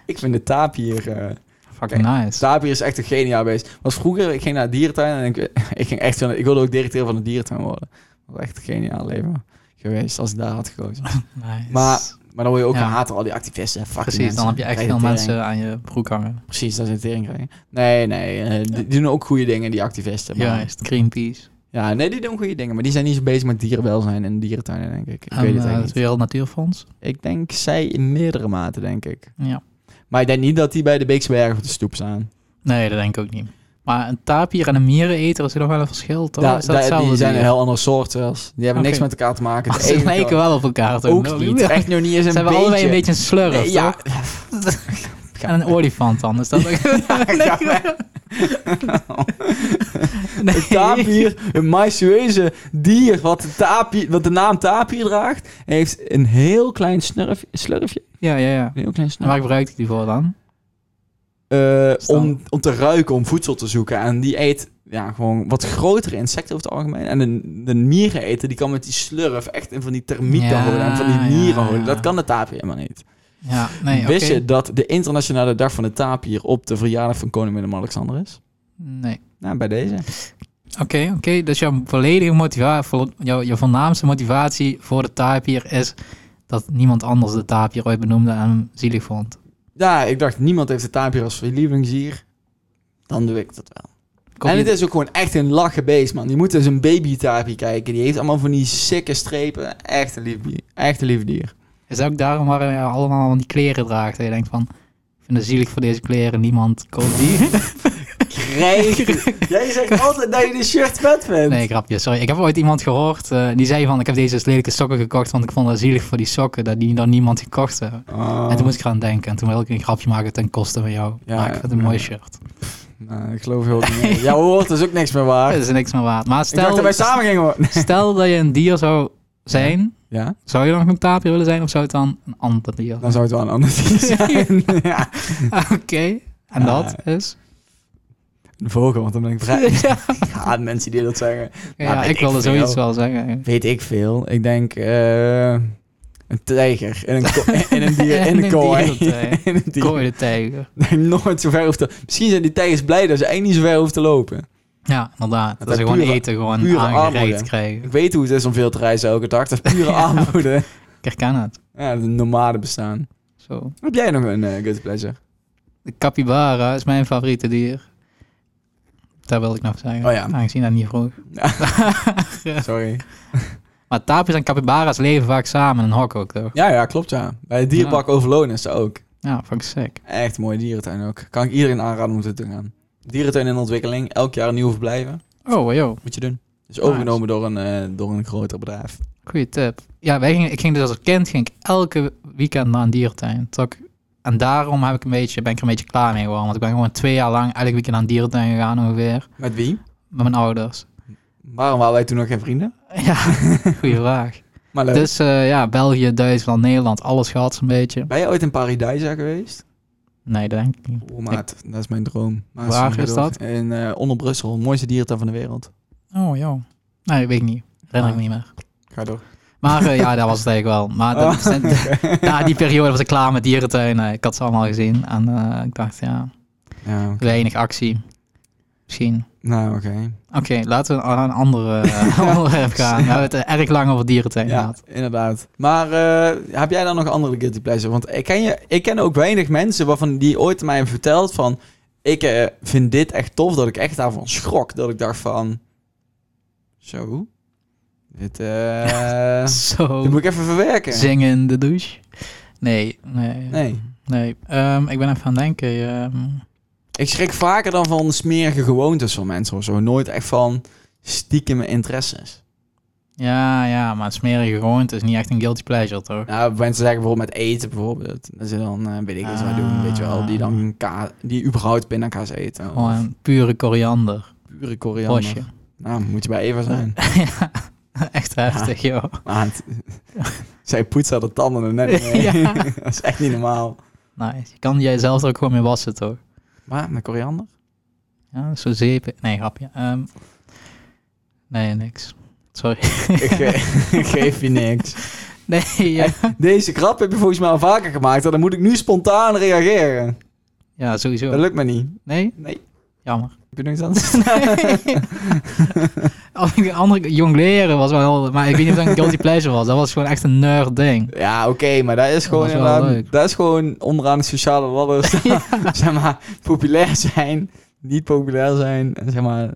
Speaker 1: Ik vind de taap hier... eh,
Speaker 2: Fucking nice.
Speaker 1: Slapier is echt een geniaal beest. Want vroeger, ik ging naar de dierentuin en ik, ik, ging echt, zo naar- ik wilde ook directeur van de dierentuin worden. Dat was echt een geniaal leven geweest als ik daar had gekozen.
Speaker 2: Nice.
Speaker 1: Maar- Maar dan word je ook
Speaker 2: Ja.
Speaker 1: gehaat door al die activisten. en fucking
Speaker 2: Precies, dan
Speaker 1: mensen.
Speaker 2: heb je echt
Speaker 1: Krijg je
Speaker 2: veel
Speaker 1: tering.
Speaker 2: mensen aan je broek hangen.
Speaker 1: Precies, dat is een tering krijgen. Nee, nee, eh, die, die doen ook goede dingen, die activisten. Maar, ja.
Speaker 2: Juist, Greenpeace.
Speaker 1: nee, die doen goede dingen. Maar die zijn niet zo bezig met dierenwelzijn en dierentuinen, denk ik. Ik
Speaker 2: En,
Speaker 1: weet het
Speaker 2: eh,
Speaker 1: eigenlijk
Speaker 2: het
Speaker 1: niet.
Speaker 2: Wereld Natuurfonds.
Speaker 1: Ik denk zij in meerdere mate, denk ik.
Speaker 2: Ja.
Speaker 1: Maar ik denk niet dat die bij de Beekse Bergen op de stoep staan.
Speaker 2: Nee, dat denk ik ook niet. Maar een tapier en een miereneter is er nog wel een verschil, toch?
Speaker 1: Da-
Speaker 2: is
Speaker 1: da-
Speaker 2: dat hetzelfde
Speaker 1: die zijn
Speaker 2: dier?
Speaker 1: een heel ander soort zelfs. Die hebben niks
Speaker 2: Oké.
Speaker 1: met elkaar te maken.
Speaker 2: Maar
Speaker 1: Het
Speaker 2: ze
Speaker 1: ene-
Speaker 2: lijken wel op elkaar, toch?
Speaker 1: Ook niet. Echt nog niet eens een
Speaker 2: Ze hebben
Speaker 1: beetje.
Speaker 2: allebei een beetje een slurf,
Speaker 1: Nee, ja.
Speaker 2: toch? En een olifant dan, is dat ook...
Speaker 1: ga
Speaker 2: nee.
Speaker 1: Een tapier, een majestueuze dier wat de, tapier, wat de naam tapier draagt, heeft een heel klein snurf, slurfje.
Speaker 2: Ja, ja, ja.
Speaker 1: Een heel klein
Speaker 2: En
Speaker 1: snurfje.
Speaker 2: waar gebruikt hij die voor dan?
Speaker 1: Eh, om, om te ruiken, om voedsel te zoeken. En die eet ja, gewoon wat grotere insecten over het algemeen. En de, de mieren eten, die kan met die slurf echt in van die termieten
Speaker 2: Ja,
Speaker 1: holen en van die
Speaker 2: ja,
Speaker 1: mieren
Speaker 2: ja.
Speaker 1: holen. Dat kan de tapier helemaal niet.
Speaker 2: Ja, nee, oké.
Speaker 1: Wist je dat de internationale dag van de tapier op de verjaardag van koning Willem-Alexander is?
Speaker 2: Nee.
Speaker 1: Nou, bij deze.
Speaker 2: Oké, oké. Dus jouw volledige motivatie, jouw, jouw voornaamste motivatie voor de tapier is dat niemand anders de tapier ooit benoemde en hem zielig vond.
Speaker 1: Ja, ik dacht, niemand heeft de tapier als verlievingsier. Dan doe ik dat wel.
Speaker 2: Kom
Speaker 1: en
Speaker 2: je-
Speaker 1: het is ook gewoon echt een lachen beest, man. Je moet eens een baby tapier kijken. Die heeft allemaal van die sikke strepen. Echt een lief dier. Echt een lief dier.
Speaker 2: Is dat ook daarom waar je allemaal van die kleren draagt? Dat je denkt van, ik vind het zielig voor deze kleren, niemand koopt die.
Speaker 1: Krijg. Jij zegt altijd dat je de shirt vet vindt.
Speaker 2: Nee, grapje, sorry. Ik heb ooit iemand gehoord, eh, die zei van, ik heb deze lelijke sokken gekocht, want ik vond het zielig voor die sokken, dat die dan niemand gekocht hebben.
Speaker 1: Oh.
Speaker 2: En toen moest ik gaan denken en toen wilde ik een grapje maken ten koste van jou.
Speaker 1: Ja,
Speaker 2: maar ik vind het een mooi
Speaker 1: ja.
Speaker 2: shirt.
Speaker 1: Nou, ik geloof heel niet meer. Jouw woord is ook niks meer waar.
Speaker 2: Dat is niks meer waard. Maar
Speaker 1: ik dacht dat
Speaker 2: stel,
Speaker 1: wij samen gingen worden.
Speaker 2: stel dat je een dier zou zijn,
Speaker 1: Ja,
Speaker 2: zou je dan nog een tapier willen zijn of zou het dan een ander dier
Speaker 1: dan
Speaker 2: zijn?
Speaker 1: zou het wel een ander dier zijn. ja.
Speaker 2: Oké, en
Speaker 1: Ja.
Speaker 2: dat is?
Speaker 1: Een vogel, want dan ben ik vrij.
Speaker 2: ja,
Speaker 1: Ja, mensen die dat zeggen. weet
Speaker 2: ik
Speaker 1: ik
Speaker 2: wilde
Speaker 1: veel.
Speaker 2: zoiets wel zeggen.
Speaker 1: Weet ik veel. Ik denk eh, een tijger in een, ko- in een dier in
Speaker 2: In
Speaker 1: een
Speaker 2: een
Speaker 1: kooi.
Speaker 2: dierentij.
Speaker 1: In een dier.
Speaker 2: Kooi de tijger.
Speaker 1: Dat je nooit zo ver hoeft te... Misschien zijn die tijgers blij dat ze eigenlijk niet zo ver hoeven te lopen.
Speaker 2: Ja, inderdaad. Dat,
Speaker 1: is
Speaker 2: ze gewoon
Speaker 1: pure-
Speaker 2: eten gewoon
Speaker 1: pure
Speaker 2: aangereikt
Speaker 1: armoede.
Speaker 2: krijgen.
Speaker 1: Ik weet hoe het is om veel te reizen elke dag. Dat is pure
Speaker 2: Ja.
Speaker 1: armoede.
Speaker 2: Ik herken het.
Speaker 1: Ja, de nomaden bestaan.
Speaker 2: Zo.
Speaker 1: Heb jij nog een eh, good pleasure?
Speaker 2: De capybara is mijn favoriete dier. Daar wilde ik nog zeggen.
Speaker 1: Oh ja.
Speaker 2: Aangezien dat niet vroeg.
Speaker 1: Sorry.
Speaker 2: Maar tapirs en capybara's leven vaak samen in een hok ook, toch?
Speaker 1: Ja, ja, klopt ja. Bij het dierpark Overloon is ze ook.
Speaker 2: Ja, fuck sick.
Speaker 1: Echt mooie dierentuin ook. Kan ik iedereen aanraden om te doen gaan. Dierentuin in ontwikkeling. Elk jaar een nieuw verblijven.
Speaker 2: Oh, joh.
Speaker 1: Moet je doen. Is
Speaker 2: Nice.
Speaker 1: overgenomen door, een, eh, door een groter bedrijf.
Speaker 2: Goeie tip. Ja, wij gingen, ik ging dus als kind ging ik elke weekend naar een dierentuin. Tot ik- en daarom heb ik een beetje, ben ik er een beetje klaar mee geworden. Want ik ben gewoon twee jaar lang elke weekend naar een dierentuin gegaan ongeveer.
Speaker 1: Met wie?
Speaker 2: Met mijn ouders.
Speaker 1: Waarom waren wij toen nog geen vrienden?
Speaker 2: Ja, goede vraag.
Speaker 1: Maar leuk.
Speaker 2: Dus eh, ja, België, Duitsland, Nederland, alles gehad zo'n beetje.
Speaker 1: Ben je ooit in Paradijsa geweest?
Speaker 2: Nee, dat denk ik niet.
Speaker 1: Oh, maat, dat is mijn droom. Maar
Speaker 2: Waar
Speaker 1: zie je
Speaker 2: is
Speaker 1: door.
Speaker 2: dat?
Speaker 1: In, eh, onder Brussel, mooiste diertuin van de wereld.
Speaker 2: Oh, joh. Nee, dat weet ik niet. Herinner ik me niet meer.
Speaker 1: Ga door.
Speaker 2: Maar eh, ja, dat was het eigenlijk wel. Maar dat, na die periode was ik klaar met dierentuinen. Ik had ze allemaal gezien. En eh, ik dacht, ja,
Speaker 1: Ja,
Speaker 2: weinig actie. Misschien.
Speaker 1: nou oké.
Speaker 2: Oké, laten we aan een andere eh, onderwerp gaan. We hebben het eh, erg lang over dierentuin
Speaker 1: Ja,
Speaker 2: gehad.
Speaker 1: inderdaad. Maar eh, heb jij dan nog andere guilty pleasure? Want ik ken, je, ik ken ook weinig mensen waarvan die ooit mij hebben verteld van... Ik eh, vind dit echt tof, dat ik echt daarvan schrok. Dat ik dacht van... Zo? Dit, eh, dit
Speaker 2: Zo,
Speaker 1: moet ik even verwerken.
Speaker 2: zingen in de douche. Nee, nee. nee.
Speaker 1: Nee.
Speaker 2: Ehm, ik ben even aan het denken. ehm,
Speaker 1: Ik schrik vaker dan van smerige gewoontes van mensen of zo. Nooit echt van stiekem interesses.
Speaker 2: ja, ja, maar smerige gewoonte is niet echt een guilty pleasure, toch?
Speaker 1: Nou, mensen zeggen bijvoorbeeld met eten bijvoorbeeld. Dat ze dan, eh, weet ik wat ze
Speaker 2: Ah.
Speaker 1: doen, weet je wel. Die dan ka die überhaupt pindakaas eten. Of
Speaker 2: Gewoon pure koriander.
Speaker 1: pure koriander.
Speaker 2: Bosje.
Speaker 1: Nou, moet je bij Eva zijn.
Speaker 2: ja, echt heftig, joh.
Speaker 1: Maat. Zij poetst haar de tanden er net niet mee.
Speaker 2: Ja.
Speaker 1: Dat is echt niet normaal.
Speaker 2: Nice. Je kan jijzelf er ook gewoon mee wassen, toch?
Speaker 1: Maar, met koriander?
Speaker 2: Ja, zo zeepen. Nee, grapje. Ehm, nee, niks. Sorry.
Speaker 1: Ik ge- ik geef je niks.
Speaker 2: Nee, ja.
Speaker 1: Deze grap heb je volgens mij al vaker gemaakt. Dan moet ik nu spontaan reageren.
Speaker 2: ja,
Speaker 1: Dat
Speaker 2: sowieso.
Speaker 1: lukt me niet.
Speaker 2: Nee?
Speaker 1: Nee.
Speaker 2: Jammer.
Speaker 1: Heb je nog iets anders?
Speaker 2: Als ik een andere jong leren was wel heel... Maar ik weet niet of dat een guilty pleasure was. Dat was gewoon echt een nerd ding.
Speaker 1: Ja, oké, maar dat is gewoon
Speaker 2: was wel
Speaker 1: inderdaad-
Speaker 2: leuk.
Speaker 1: dat is gewoon onderaan de sociale ladder. staan. zeg maar, populair zijn, niet populair zijn, en zeg maar.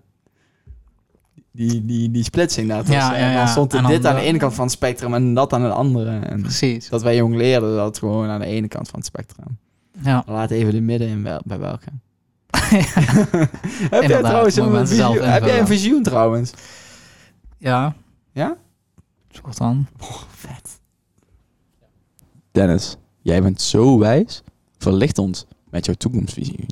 Speaker 1: Die, die, die splitsing daar. tussen.
Speaker 2: Ja, ja,
Speaker 1: En
Speaker 2: ja.
Speaker 1: Dan stond er
Speaker 2: En dan
Speaker 1: dit aan de
Speaker 2: de-
Speaker 1: ene kant van het spectrum en dat aan de andere. En
Speaker 2: Precies.
Speaker 1: dat wij jong leerden, dat gewoon aan de ene kant van het spectrum.
Speaker 2: Ja.
Speaker 1: Laat even de midden in wel, bij welke. heb jij
Speaker 2: Inderdaad,
Speaker 1: trouwens
Speaker 2: moet
Speaker 1: een
Speaker 2: mensen zelf
Speaker 1: visioen? Heb jij een
Speaker 2: invullen.
Speaker 1: visioen trouwens?
Speaker 2: Ja.
Speaker 1: Ja?
Speaker 2: Soort dan.
Speaker 4: Dennis, jij bent zo wijs. Verlicht ons met jouw toekomstvisie.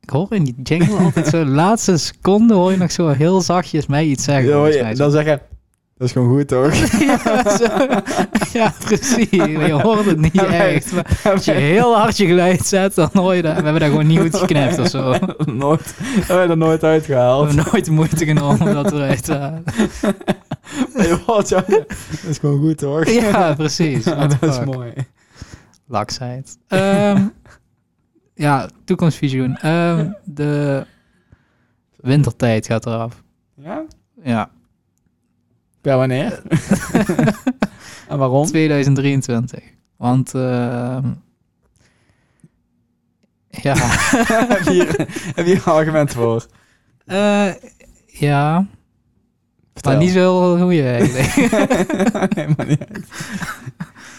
Speaker 2: Ik hoor in die jingle altijd zo... Laatste seconde hoor je nog zo heel zachtjes mij iets zeggen.
Speaker 1: Ja,
Speaker 2: volgens
Speaker 1: ja,
Speaker 2: mij.
Speaker 1: dan zeg je, dat is gewoon goed toch?
Speaker 2: ja, zo. Ja, precies. Je hoort het niet
Speaker 1: wij-
Speaker 2: echt. Maar als je heel hard je geluid zet, dan hoor je dat. We hebben dat gewoon niet goed geknipt of zo. We
Speaker 1: nooit, hebben we er nooit uitgehaald.
Speaker 2: hebben nooit de moeite genomen om dat eruit te halen.
Speaker 1: Hey, wat, ja, dat is gewoon goed hoor.
Speaker 2: Ja, precies.
Speaker 1: Ja,
Speaker 2: What
Speaker 1: dat
Speaker 2: the
Speaker 1: is
Speaker 2: fuck.
Speaker 1: mooi.
Speaker 2: Laksheid. Ehm, ja, toekomstvisioen. Ehm, de wintertijd gaat eraf.
Speaker 1: Ja?
Speaker 2: Ja,
Speaker 1: Ja, wanneer? en waarom?
Speaker 2: 2023. Want... ehm, ja...
Speaker 1: heb, je hier, heb je hier een argument voor?
Speaker 2: Eh, ja...
Speaker 1: Vertel.
Speaker 2: Maar niet zo hoe je eigenlijk.
Speaker 1: nee, maar niet uit.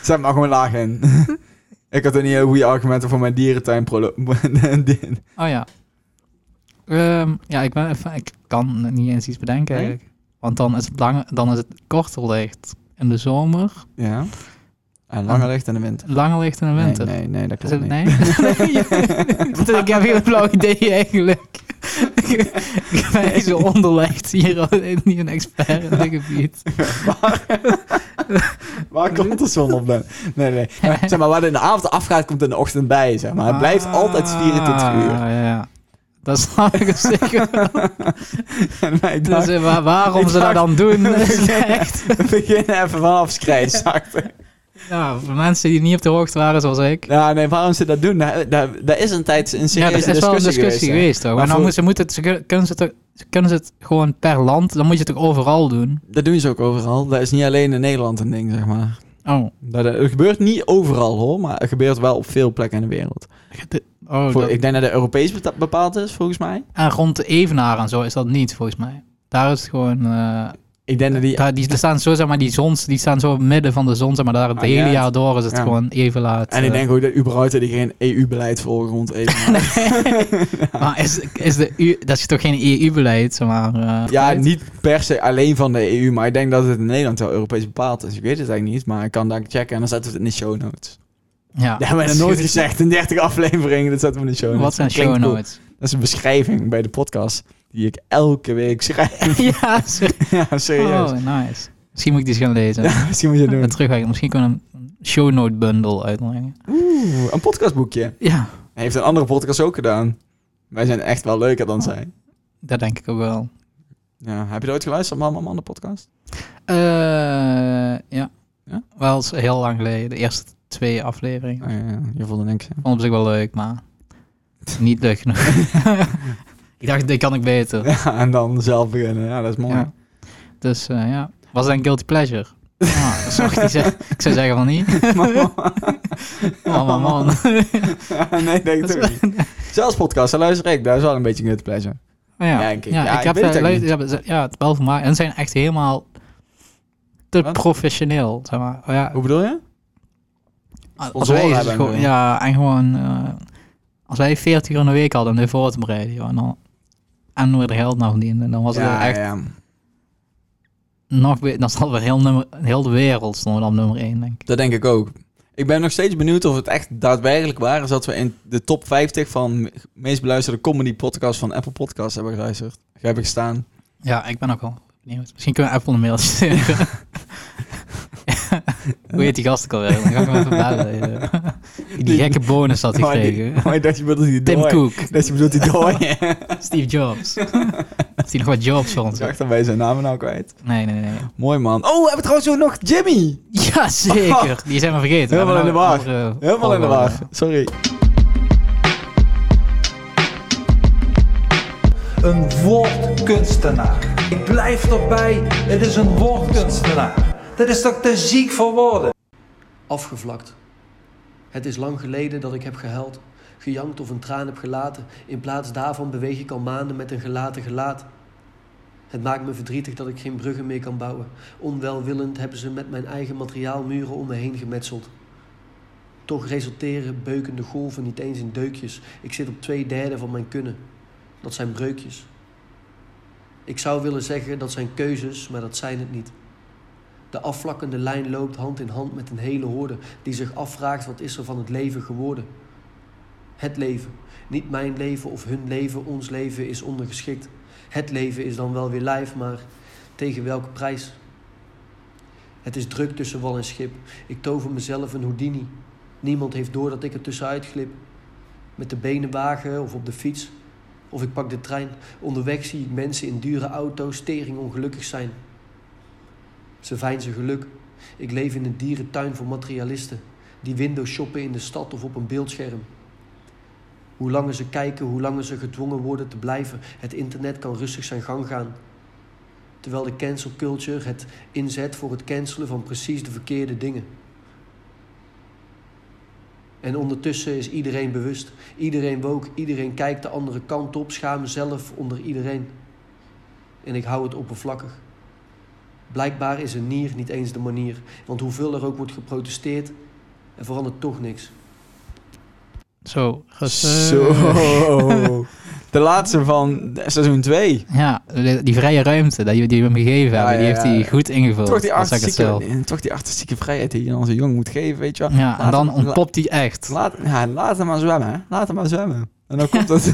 Speaker 1: Zet maar gewoon laag in. Ik had er niet heel goede argumenten voor mijn dierentuin prolo- die-
Speaker 2: oh ja. Ehm, ja, ik, ben, even- ik kan niet eens iets bedenken
Speaker 1: Nee?
Speaker 2: eigenlijk. Want dan is het, lang, dan is het korter licht in de zomer,
Speaker 1: Ja. En langer ligt in de winter.
Speaker 2: langer licht in de winter.
Speaker 1: Nee, nee, nee, dat
Speaker 2: Is
Speaker 1: klopt
Speaker 2: het,
Speaker 1: niet.
Speaker 2: nee? nee? ik heb heel flauw idee eigenlijk. ik ik ben niet zo onderlegd hier, al- niet een expert in dit gebied.
Speaker 1: Waar komt de zon op? dan? Nee, nee. Maar, zeg maar, waar het in de avond afgaat, komt in de ochtend bij. Zeg maar. Het blijft altijd 24
Speaker 2: Ah,
Speaker 1: uur.
Speaker 2: Ja, dat snap ik zeker.
Speaker 1: En wij
Speaker 2: Dus,
Speaker 1: dachten,
Speaker 2: eh, waar- waarom
Speaker 1: ik
Speaker 2: ze dat
Speaker 1: dacht-
Speaker 2: dan doen, is
Speaker 1: Ja.
Speaker 2: echt...
Speaker 1: we beginnen even vanaf schrijfzachter.
Speaker 2: Ja, voor mensen die niet op de hoogte waren zoals ik.
Speaker 1: Ja, nee, waarom ze dat doen, daar, daar, daar is een tijd een serieuze
Speaker 2: Ja, dat is
Speaker 1: discussie,
Speaker 2: wel een discussie
Speaker 1: geweest. hè.
Speaker 2: geweest, toch?
Speaker 1: Maar
Speaker 2: Maar nou,
Speaker 1: voor-
Speaker 2: moeten ze, moeten het, ze kun- kunnen, ze het, ook- ze kunnen ze het gewoon per land, dan moet je het ook overal doen.
Speaker 1: Dat doen ze ook overal. Dat is niet alleen in Nederland een ding, zeg maar.
Speaker 2: Oh,
Speaker 1: Dat, eh, het gebeurt niet overal, hoor. Maar het gebeurt wel op veel plekken in de wereld.
Speaker 2: oh
Speaker 1: Voor,
Speaker 2: dat-
Speaker 1: ik denk dat het Europees beta- bepaald is, volgens mij.
Speaker 2: en rond de Evenaar en zo is dat niet, volgens mij. Daar is het gewoon... eh,
Speaker 1: Ik denk dat die...
Speaker 2: daar, die, er staan zo, zeg maar, die zons, die staan zo in het midden van de zon, zeg maar, daar het
Speaker 1: Ah,
Speaker 2: hele
Speaker 1: ja.
Speaker 2: jaar door is het
Speaker 1: Ja.
Speaker 2: gewoon even laat.
Speaker 1: En ik
Speaker 2: eh.
Speaker 1: denk ook dat überhaupt dat die geen EU-beleid volgen rond E even.
Speaker 2: Maar is, is de U, dat is toch geen EU-beleid, zeg maar? eh,
Speaker 1: Ja,
Speaker 2: beleid?
Speaker 1: niet per se alleen van de EU, maar ik denk dat het in Nederland wel Europees bepaald is. Ik weet het eigenlijk niet, maar ik kan daar checken en dan zetten we het in de show notes.
Speaker 2: Ja.
Speaker 1: Dat hebben we nog nooit gezegd in 30 afleveringen, dat zetten we in de show notes.
Speaker 2: Wat zijn
Speaker 1: Dat klinkt
Speaker 2: show
Speaker 1: cool.
Speaker 2: notes?
Speaker 1: Dat is een beschrijving bij de podcast. Die die ik elke week schrijf.
Speaker 2: ja, serieus.
Speaker 1: ja, serieus.
Speaker 2: Oh, nice. Misschien moet ik die eens gaan lezen.
Speaker 1: Ja, misschien moet je het
Speaker 2: En
Speaker 1: doen.
Speaker 2: terugwerken. Misschien kunnen we een show note bundle uitbrengen.
Speaker 1: Oeh, een podcastboekje.
Speaker 2: Ja,
Speaker 1: Hij heeft een andere podcast ook gedaan. Wij zijn echt wel leuker
Speaker 2: Oh.
Speaker 1: dan zij.
Speaker 2: dat denk ik ook wel.
Speaker 1: Ja, heb je er ooit geluisterd, Mama Man, de podcast?
Speaker 2: Eh, ja.
Speaker 1: Ja?
Speaker 2: Wel eens heel lang geleden. De eerste twee afleveringen.
Speaker 1: Oh, ja, ja, je voelde niks. hè?
Speaker 2: Vond op zich wel leuk, maar niet leuk genoeg. ik dacht, dit kan ik beter.
Speaker 1: Ja, en dan zelf beginnen. Ja, dat is mooi.
Speaker 2: Ja. Dus eh, ja, was dat een guilty pleasure? Ah, dat zou ik, niet zeggen. ik zou zeggen van niet. Mama, man.
Speaker 1: nee, denk ik toch niet. Zelfs podcast, daar luister ik. Daar is wel een beetje een pleasure.
Speaker 2: Maar ja,
Speaker 1: Ja,
Speaker 2: ja,
Speaker 1: ik- ja, ik
Speaker 2: heb
Speaker 1: weet het
Speaker 2: eh,
Speaker 1: eigenlijk
Speaker 2: leuk- ja, ze- ja, het wel gemaakt. En ze zijn echt helemaal te
Speaker 1: Wat?
Speaker 2: professioneel, zeg maar. Oh Ja,
Speaker 1: Hoe bedoel je?
Speaker 2: als
Speaker 1: sponsoren
Speaker 2: wij is het
Speaker 1: hebben en
Speaker 2: gewoon,
Speaker 1: zo.
Speaker 2: ja, en gewoon, eh, als wij 40 uur in de week hadden om dit voor te bereiden, joh, en dan en we er geld naar verdienden, dan was het wel
Speaker 1: ja,
Speaker 2: echt
Speaker 1: ja.
Speaker 2: nog weer, dan stonden we heel, nummer, heel de wereld stonden we dan op nummer 1, denk ik.
Speaker 1: Dat denk ik ook. Ik ben nog steeds benieuwd of het echt daadwerkelijk waar is dat we in de top 50 van me- meest beluisterde comedy podcasts van Apple Podcasts hebben geluisterd. Hebben gestaan.
Speaker 2: Ja, ik ben ook wel benieuwd. Misschien kunnen we Apple een mailtje sturen. Hoe heet die gast ook alweer? Dan ga ik hem even bellen. eh. Die gekke bonus had hij
Speaker 1: Maar Oh, die-
Speaker 2: gekregen.
Speaker 1: maar ik dacht, je bedoelt die
Speaker 2: Tim
Speaker 1: dooi.
Speaker 2: Cook,
Speaker 1: Dat je bedoelt die dooi.
Speaker 2: Steve Jobs. Heeft hij nog wat jobs voor ons?
Speaker 1: Ik dacht, dan ben je zijn namen nou kwijt.
Speaker 2: Nee, nee, nee.
Speaker 1: Mooi man. Oh, we hebben trouwens ook nog Jimmy.
Speaker 2: Jazeker, die zijn we vergeten. We
Speaker 1: Helemaal
Speaker 2: hebben
Speaker 1: in de
Speaker 2: nou
Speaker 1: war.
Speaker 2: andere
Speaker 1: Helemaal in de
Speaker 2: volgorde.
Speaker 1: war. Sorry.
Speaker 5: Een woordkunstenaar. Ik blijf erbij, het is een woordkunstenaar. Dat is toch te ziek voor woorden?
Speaker 6: Afgevlakt. Het is lang geleden dat ik heb gehuild, gejankt of een traan heb gelaten. In plaats daarvan beweeg ik al maanden met een gelaten gelaat. Het maakt me verdrietig dat ik geen bruggen meer kan bouwen. Onwelwillend hebben ze met mijn eigen materiaal muren om me heen gemetseld. Toch resulteren beukende golven niet eens in deukjes. Ik zit op twee derde van mijn kunnen. Dat zijn breukjes. Ik zou willen zeggen dat zijn keuzes, maar dat zijn het niet. De afvlakkende lijn loopt hand in hand met een hele hoorde die zich afvraagt wat is er van het leven geworden. Het leven, niet mijn leven of hun leven, ons leven is ondergeschikt. Het leven is dan wel weer lijf, maar tegen welke prijs? Het is druk tussen wal en schip. Ik tover mezelf een Houdini. Niemand heeft door dat ik er tussenuit glip. Met de benen wagen of op de fiets. Of ik pak de trein. Onderweg zie ik mensen in dure auto's tering ongelukkig zijn. Ze veinzen geluk. Ik leef in een dierentuin voor materialisten die windows shoppen in de stad of op een beeldscherm. Hoe langer ze kijken, hoe langer ze gedwongen worden te blijven. Het internet kan rustig zijn gang gaan. Terwijl de cancel culture het inzet voor het cancelen van precies de verkeerde dingen. En ondertussen is iedereen bewust. Iedereen woke, iedereen kijkt de andere kant op, schaam zelf onder iedereen. En ik hou het oppervlakkig. Blijkbaar is een nier niet eens de manier, want hoeveel er ook wordt geprotesteerd, er verandert toch niks.
Speaker 2: Zo, rustig.
Speaker 1: Zo. eh, De laatste van seizoen 2.
Speaker 2: Ja, die vrije ruimte die, die we hem
Speaker 1: Ja,
Speaker 2: gegeven hebben, die
Speaker 1: ja,
Speaker 2: heeft
Speaker 1: ja.
Speaker 2: hij goed ingevuld.
Speaker 1: Toch die,
Speaker 2: dat zeg ik het zelf.
Speaker 1: artistieke, toch die artistieke vrijheid die je aan zo'n jong moet geven, weet je wel.
Speaker 2: Ja, en
Speaker 1: Laat
Speaker 2: dan
Speaker 1: hem- la-
Speaker 2: ontpopt hij echt.
Speaker 1: Laat, ja, laat hem maar zwemmen, hè. Laat hem maar zwemmen. En dan komt het...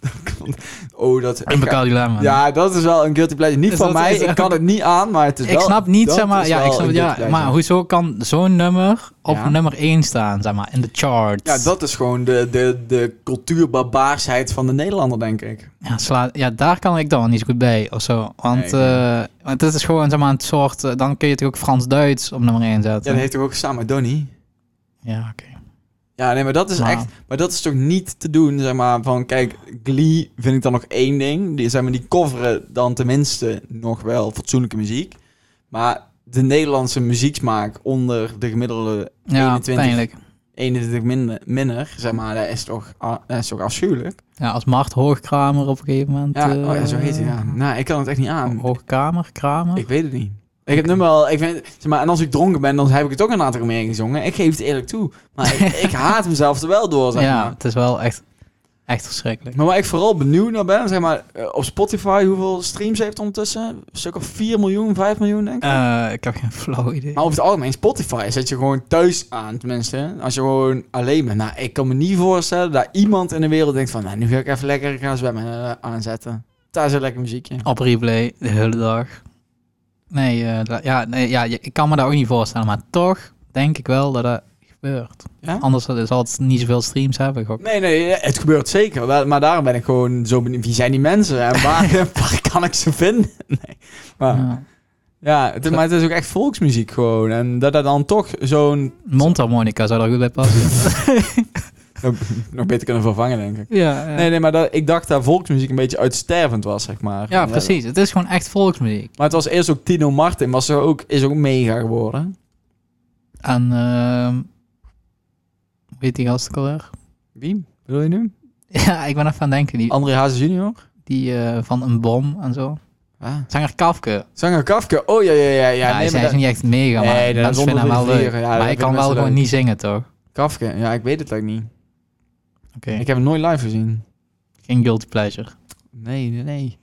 Speaker 1: dan komt- oh, dat...
Speaker 2: Een bokaal dilemma.
Speaker 1: Ja, dat is wel een guilty pleasure. Niet
Speaker 2: Is
Speaker 1: van
Speaker 2: dat-
Speaker 1: mij,
Speaker 2: is dat-
Speaker 1: ik kan het niet aan, maar het is wel...
Speaker 2: ik snap niet,
Speaker 1: dat
Speaker 2: zeg maar,
Speaker 1: is
Speaker 2: ja,
Speaker 1: wel
Speaker 2: ik snap,
Speaker 1: een
Speaker 2: ja,
Speaker 1: guilty pleasure.
Speaker 2: maar hoezo kan zo'n nummer op
Speaker 1: Ja.
Speaker 2: nummer 1 staan, zeg maar, in de charts?
Speaker 1: Ja, dat is gewoon de, de, de cultuurbarbaarsheid van de Nederlander, denk ik.
Speaker 2: Ja, sla, ja, daar kan ik dan wel niet zo goed bij, of zo. Want
Speaker 1: Nee,
Speaker 2: eh want dit is gewoon, zeg maar, een soort, eh, dan kun je het ook Frans-Duits op nummer 1
Speaker 1: Ja,
Speaker 2: zetten.
Speaker 1: dat heeft toch ook samen met Donnie?
Speaker 2: Ja, oké.
Speaker 1: Ja, nee, maar dat is
Speaker 2: Maar-
Speaker 1: echt. Maar dat is toch niet te doen, zeg maar. Van kijk, Glee vind ik dan nog één ding. Die, zeg maar, die coveren dan tenminste nog wel fatsoenlijke muziek. Maar de Nederlandse muzieksmaak onder de gemiddelde
Speaker 2: Ja,
Speaker 1: 21.
Speaker 2: pijnlijk.
Speaker 1: 21 minder, minder zeg maar, dat is toch, ah, dat is toch afschuwelijk?
Speaker 2: Ja, als Mart Hoogkramer op een gegeven moment.
Speaker 1: Ja,
Speaker 2: eh, Oh.
Speaker 1: oh, ja, zo heet hij. Ja. Nou, ik kan het echt niet aan.
Speaker 2: Hoogkamer, Kramer.
Speaker 1: Ik weet het niet. Ik heb nu wel, ik vind, zeg maar, en als ik dronken ben, dan heb ik het ook een aantal keer meer gezongen. Ik geef het eerlijk toe. Maar ik, ik haat mezelf er wel door, zeg
Speaker 2: ja,
Speaker 1: maar.
Speaker 2: het is wel echt. Echt verschrikkelijk.
Speaker 1: Maar waar ik vooral benieuwd naar ben, zeg maar, eh, op Spotify, hoeveel streams heeft het ondertussen? Een stuk of 4 miljoen, 5 miljoen, denk ik.
Speaker 2: Eh, ik heb geen flauw idee.
Speaker 1: Maar over het algemeen, Spotify zet je gewoon thuis aan, tenminste. Als je gewoon alleen bent. Nou, ik kan me niet voorstellen dat iemand in de wereld denkt van... Nou, nu ga ik even lekker gaan zwemmen eh, aanzetten. Daar zit lekker muziekje.
Speaker 2: Op replay, de hele dag. Nee, eh, da- ja, nee ja, je- ik kan me dat ook niet voorstellen. Maar toch denk ik wel dat dat gebeurt.
Speaker 1: Ja?
Speaker 2: Anders zal het niet zoveel streams hebben. gok.
Speaker 1: Nee, nee, eh, het gebeurt zeker. Wel, Maar daarom ben ik gewoon zo benieuwd. Wie zijn die mensen? En waar, waar kan ik ze vinden? Nee. Maar, ja.
Speaker 2: Ja.
Speaker 1: het, is- maar het is ook echt volksmuziek gewoon. En dat dat dan toch zo'n...
Speaker 2: Mondharmonica zou daar goed bij passen.
Speaker 1: Nog beter kunnen vervangen, denk ik.
Speaker 2: ja, ja.
Speaker 1: Nee, nee, maar dat, ik dacht dat volksmuziek een beetje uitstervend was, zeg maar.
Speaker 2: ja, precies. Het is gewoon echt volksmuziek.
Speaker 1: Maar het was eerst ook Tino Martin, was er ook, is ook mega geworden.
Speaker 2: En ehm hoe heet die gast ook alweer?
Speaker 1: Wie? Wil je nu?
Speaker 2: Ja, ik ben even aan het denken. Die,
Speaker 1: André Hazes junior?
Speaker 2: die eh, van een bom en zo.
Speaker 1: Ah.
Speaker 2: Zanger Kafke.
Speaker 1: Zanger Kafka. Oh ja, ja, ja. ja.
Speaker 2: Ja, hij
Speaker 1: maar
Speaker 2: is
Speaker 1: dat-
Speaker 2: niet echt mega, maar
Speaker 1: Nee, dat is
Speaker 2: mensen vinden hem wel
Speaker 1: onder de
Speaker 2: leuk.
Speaker 1: vieren. Ja, dat
Speaker 2: maar hij
Speaker 1: vinden
Speaker 2: kan wel
Speaker 1: mensen
Speaker 2: gewoon
Speaker 1: leuk.
Speaker 2: niet zingen, toch? Oké,
Speaker 1: Kafka. Ja, ik weet het eigenlijk niet. Ik heb hem nooit live gezien.
Speaker 2: geen guilty pleasure.
Speaker 1: Nee, nee, nee.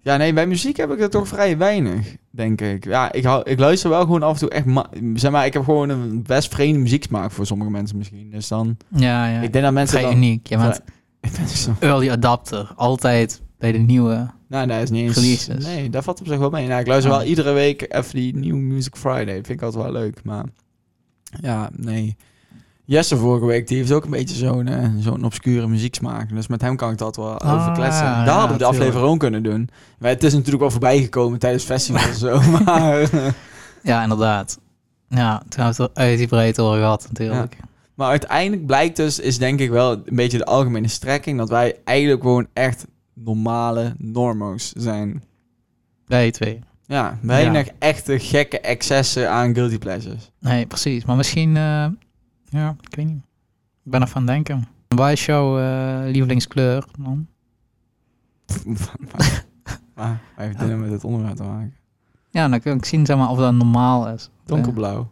Speaker 1: Ja, nee, bij muziek heb ik er toch vrij weinig, denk ik. Ja, ik, hou, ik luister wel gewoon af en toe echt... ma- Zeg maar, ik heb gewoon een best vreemde muzieksmaak voor sommige mensen misschien. Dus dan...
Speaker 2: Ja, ja.
Speaker 1: Ik denk dat mensen
Speaker 2: Vrij
Speaker 1: dan...
Speaker 2: uniek. Je bent
Speaker 1: Ik ben zo...
Speaker 2: early adapter. Altijd bij de nieuwe.
Speaker 1: Nou, dat is niet eens...
Speaker 2: Releases.
Speaker 1: Nee, dat valt op zich wel mee. Nou, ik luister
Speaker 2: Ja.
Speaker 1: wel iedere week even die New Music Friday. Vind ik altijd wel leuk, maar... Ja, nee. Jesse vorige week, die heeft ook een beetje zo'n eh, zo'n obscure muzieksmaak. Dus met hem kan ik dat wel
Speaker 2: Ah,
Speaker 1: over kletsen.
Speaker 2: ja,
Speaker 1: Daar hadden we de
Speaker 2: tuurlijk.
Speaker 1: aflevering ook kunnen doen. Maar het is natuurlijk wel voorbijgekomen tijdens festivals en zo. Maar, eh,
Speaker 2: Ja, inderdaad. Ja, toen hebben we het er uit die breedte over gehad natuurlijk.
Speaker 1: maar uiteindelijk blijkt dus, is denk ik wel een beetje de algemene strekking... dat wij eigenlijk gewoon echt normale normo's zijn.
Speaker 2: Wij twee.
Speaker 1: Ja, weinig echte gekke excessen aan guilty pleasures.
Speaker 2: Nee, precies. Maar misschien... eh, ja, ik weet niet. Ik ben ervan denken. Waar is jouw eh, lievelingskleur dan?
Speaker 1: Maar hij heeft dingen met het onderwerp te maken.
Speaker 2: Ja, dan kan ik zien zeg maar, of dat normaal is. Eh,
Speaker 1: Donkerblauw.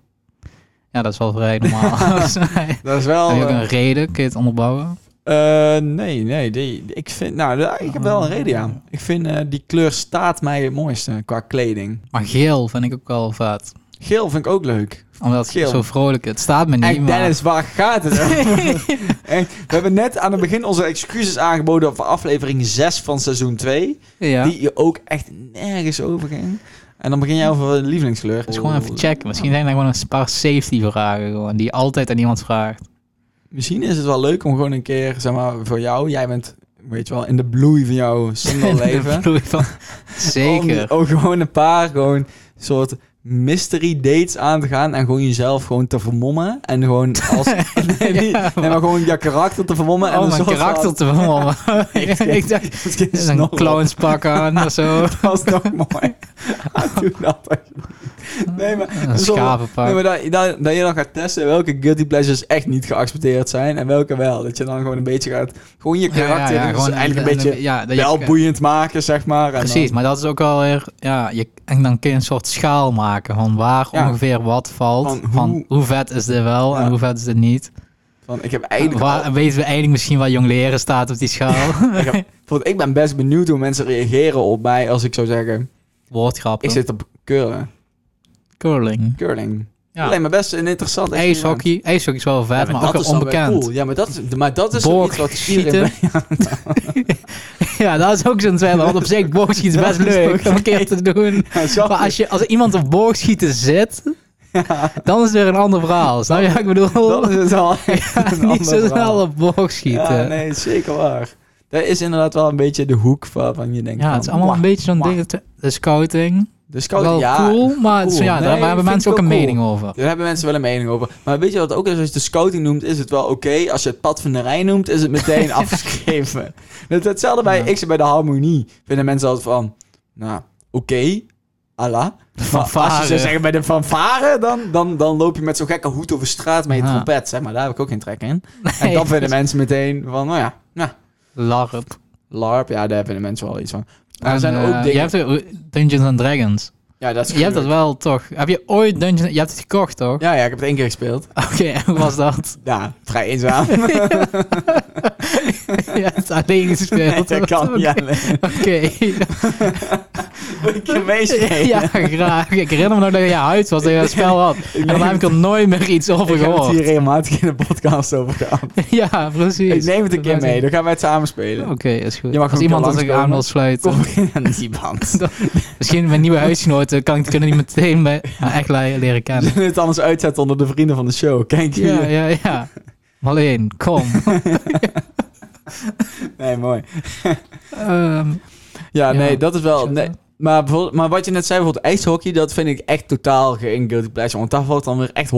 Speaker 2: Ja, dat is wel vrij normaal. Volgens mij.
Speaker 1: Dat is wel...
Speaker 2: Heb je ook
Speaker 1: eh,
Speaker 2: een reden? Kun je het onderbouwen?
Speaker 1: eh, nee, nee. Die, die- ik vind... Nou, da- ik heb
Speaker 2: Oh,
Speaker 1: wel een reden aan. Ik vind eh, die kleur staat mij het mooiste qua kleding.
Speaker 2: Maar geel vind ik ook wel vet.
Speaker 1: Geel vind ik ook leuk.
Speaker 2: Omdat het
Speaker 1: Geel.
Speaker 2: zo vrolijk Het staat me niet,
Speaker 1: En
Speaker 2: maar...
Speaker 1: Dennis, waar gaat het over? En we hebben net aan het begin onze excuses aangeboden voor aflevering 6 van seizoen 2.
Speaker 2: ja.
Speaker 1: Die je ook echt nergens over ging. En dan begin jij over de lievelingskleur.
Speaker 2: Dus gewoon even checken. Misschien zijn er gewoon een paar safety vragen gewoon, die je altijd aan iemand vraagt.
Speaker 1: Misschien is het wel leuk om gewoon een keer, zeg maar, voor jou. Jij bent, weet je wel, in de bloei van jouw single leven. Oh,
Speaker 2: Vloei van- Zeker.
Speaker 1: Om, om gewoon een paar gewoon soort mystery dates aan te gaan en gewoon jezelf gewoon te vermommen. En gewoon als... nee, niet-
Speaker 2: Ja,
Speaker 1: nee, maar gewoon je karakter te vermommen. en
Speaker 2: oh,
Speaker 1: een
Speaker 2: mijn
Speaker 1: soort
Speaker 2: karakter
Speaker 1: van-
Speaker 2: te vermommen. ik dacht,
Speaker 1: Misschien
Speaker 2: er
Speaker 1: is
Speaker 2: is
Speaker 1: het
Speaker 2: een
Speaker 1: nog wel-
Speaker 2: clownspak aan of zo.
Speaker 1: Dat is nog mooi. Doe dat alsjeblieft. Nee, maar...
Speaker 2: Een
Speaker 1: zo-
Speaker 2: schapenpak.
Speaker 1: Nee, maar dat, dat, dat je dan gaat testen welke guilty pleasures echt niet geaccepteerd zijn en welke wel. Dat je dan gewoon een beetje gaat... Gewoon je
Speaker 2: Ja, ja, ja,
Speaker 1: karakter dus
Speaker 2: gewoon
Speaker 1: eigenlijk
Speaker 2: en-
Speaker 1: een beetje
Speaker 2: en- ja, dat je-
Speaker 1: wel boeiend maken, zeg maar. En
Speaker 2: Precies,
Speaker 1: dan-
Speaker 2: maar dat is ook wel weer... Ja, je, en dan kun je een soort schaal maken van waar
Speaker 1: Ja.
Speaker 2: ongeveer wat valt.
Speaker 1: Van
Speaker 2: Van
Speaker 1: hoe-
Speaker 2: hoe, vet is dit wel
Speaker 1: Ja.
Speaker 2: en hoe vet is dit niet.
Speaker 1: van, ik heb eigenlijk...
Speaker 2: Waar,
Speaker 1: al-
Speaker 2: Weten we eigenlijk misschien waar jong leren staat op die schaal?
Speaker 1: ik, heb- bijvoorbeeld, ik ben best benieuwd hoe mensen reageren op mij als ik zou zeggen...
Speaker 2: Woordgrappen.
Speaker 1: Ik zit op curlen.
Speaker 2: Curling.
Speaker 1: Curling.
Speaker 2: Ja.
Speaker 1: Alleen maar best een interessant experiment.
Speaker 2: Ijshockey. Ijshockey is wel
Speaker 1: Ja,
Speaker 2: vet, maar, ook
Speaker 1: dat
Speaker 2: wel
Speaker 1: is dan weer
Speaker 2: onbekend.
Speaker 1: cool. Ja, maar dat, is- maar dat is ook iets wat
Speaker 2: Boogschieten.
Speaker 1: iedereen...
Speaker 2: ja, dat is ook zo'n twijfel. Want op zich, boogschieten is best
Speaker 1: Dat is
Speaker 2: leuk
Speaker 1: ook
Speaker 2: om een keer te doen.
Speaker 1: Ja, zo-
Speaker 2: Maar als, je, als er iemand op boogschieten zit, dan is het weer een ander verhaal. Snap je wat ik bedoel?
Speaker 1: Dat is het al. een ander
Speaker 2: Niet zo
Speaker 1: verhaal.
Speaker 2: snel op boogschieten.
Speaker 1: Ja,
Speaker 2: Ja,
Speaker 1: nee, zeker waar. Dat is inderdaad wel een beetje de hoek waarvan je denkt... van,
Speaker 2: het is allemaal een
Speaker 1: "Wah,
Speaker 2: beetje zo'n
Speaker 1: wah."
Speaker 2: ding. dat- De scouting.
Speaker 1: Dus
Speaker 2: wel
Speaker 1: ja,
Speaker 2: cool, maar het is-
Speaker 1: cool.
Speaker 2: ja,
Speaker 1: Nee,
Speaker 2: daar hebben
Speaker 1: vind
Speaker 2: mensen
Speaker 1: ik
Speaker 2: ook een
Speaker 1: wel cool.
Speaker 2: mening over.
Speaker 1: Daar hebben mensen wel een mening over. Maar weet je wat het ook is? Als je de scouting noemt, is het wel oké. Als je het pad van de Rijn noemt, is het meteen afgeschreven. Dat hetzelfde bij, ik zit bij de harmonie. Vinden mensen altijd van, nou, oké, Allah. Maar als je
Speaker 2: fanfare.
Speaker 1: zou zeggen bij de fanfare, dan, dan, dan loop je met zo'n gekke hoed over straat met je
Speaker 2: Ja.
Speaker 1: trompet. Zeg maar, daar heb ik ook geen trek in. en
Speaker 2: Nee,
Speaker 1: dan vinden mensen meteen van, nou ja, nou,
Speaker 2: Larp.
Speaker 1: LARP. Ja, daar vinden mensen wel iets van. Maar
Speaker 2: En,
Speaker 1: er zijn
Speaker 2: eh,
Speaker 1: ook dingen...
Speaker 2: Je hebt ook Dungeons and Dragons.
Speaker 1: Ja, dat is
Speaker 2: Je hebt dat
Speaker 1: gruwelijk.
Speaker 2: wel toch? Heb je ooit Dungeons... Je hebt het gekocht, toch?
Speaker 1: Ja, ja, ik heb het één keer gespeeld.
Speaker 2: Oké, en hoe was dat?
Speaker 1: Ja, vrij eenzaam.
Speaker 2: je hebt het alleen gespeeld.
Speaker 1: dat kan. Ja,
Speaker 2: Oké.
Speaker 1: nee. Moet ik je
Speaker 2: Oké.
Speaker 1: meespelen?
Speaker 2: ja, graag. Ik herinner me nog dat je huid was dat je dat spel had. En daar heb ik er nooit meer iets over
Speaker 1: Ik heb het hier
Speaker 2: gehoord.
Speaker 1: regelmatig in de podcast over gehad.
Speaker 2: Ja, precies.
Speaker 1: Ik neem het een keer mee, dan gaan wij het samen spelen.
Speaker 2: Oké, is goed.
Speaker 1: Je mag
Speaker 2: Als
Speaker 1: ook
Speaker 2: iemand dat ik
Speaker 1: langskomen.
Speaker 2: aan wil sluiten.
Speaker 1: Kom in aan die band.
Speaker 2: Misschien mijn nieuwe huisgenoten kan ik kunnen die meteen bij, nou, echt le- leren kennen.
Speaker 1: Zullen we het anders uitzetten onder de vrienden van de show? Kijk hier.
Speaker 2: Ja, ja, ja. Maar alleen, kom.
Speaker 1: Nee, mooi.
Speaker 2: Ehm,
Speaker 1: Ja,
Speaker 2: Ja,
Speaker 1: nee, dat is wel...
Speaker 2: shout-out.
Speaker 1: Nee. Maar, bijvoorbeeld- maar wat je net zei, bijvoorbeeld ijshockey, dat vind ik echt totaal geen guilty pleasure. Want daar valt dan weer echt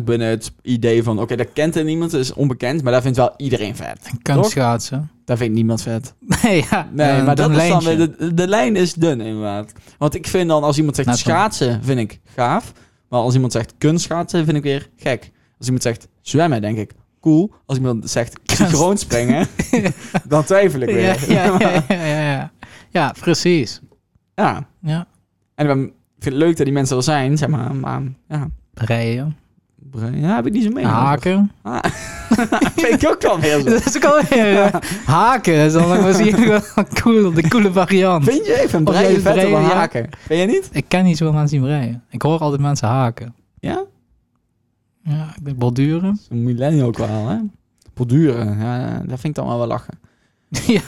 Speaker 1: 100% binnen het idee van... Oké, dat kent er niemand, dat is onbekend. Maar daar vindt wel iedereen vet.
Speaker 2: kunstschaatsen.
Speaker 1: Daar vindt niemand vet.
Speaker 2: Nee, ja.
Speaker 1: Nee,
Speaker 2: eh,
Speaker 1: maar dat
Speaker 2: een
Speaker 1: is dan
Speaker 2: lijntje.
Speaker 1: weer... De, de lijn is dun, inderdaad. Want ik vind dan, als iemand zegt
Speaker 2: Net zo.
Speaker 1: schaatsen, vind ik gaaf. Maar als iemand zegt kunstschaatsen, vind ik weer gek. Als iemand zegt zwemmen, denk ik cool. Als iemand zegt synchroon springen, dan twijfel ik weer.
Speaker 2: Ja, ja, ja, ja, ja, ja. Ja, precies.
Speaker 1: Ja.
Speaker 2: Ja.
Speaker 1: En ik ben- ik vind het leuk dat die mensen er zijn, zeg maar. Maar ja,
Speaker 2: Rijden.
Speaker 1: ja heb ik niet zo mee.
Speaker 2: Haken.
Speaker 1: vind ik ook wel heel zo.
Speaker 2: Dat is ook alweer... eh, Haken. Dat is dan misschien wel een cool, de coole variant.
Speaker 1: Vind je even
Speaker 2: Of
Speaker 1: breien
Speaker 2: jij
Speaker 1: vet dan
Speaker 2: breien, ja.
Speaker 1: haken? Vind je niet?
Speaker 2: Ik ken niet zoveel mensen die rijden. Ik hoor altijd mensen haken.
Speaker 1: Ja?
Speaker 2: Ja, ik denk borduren.
Speaker 1: Zo'n millennial ook wel, hè? Borduren, ja, dat vind ik dan wel wel lachen.
Speaker 2: ja,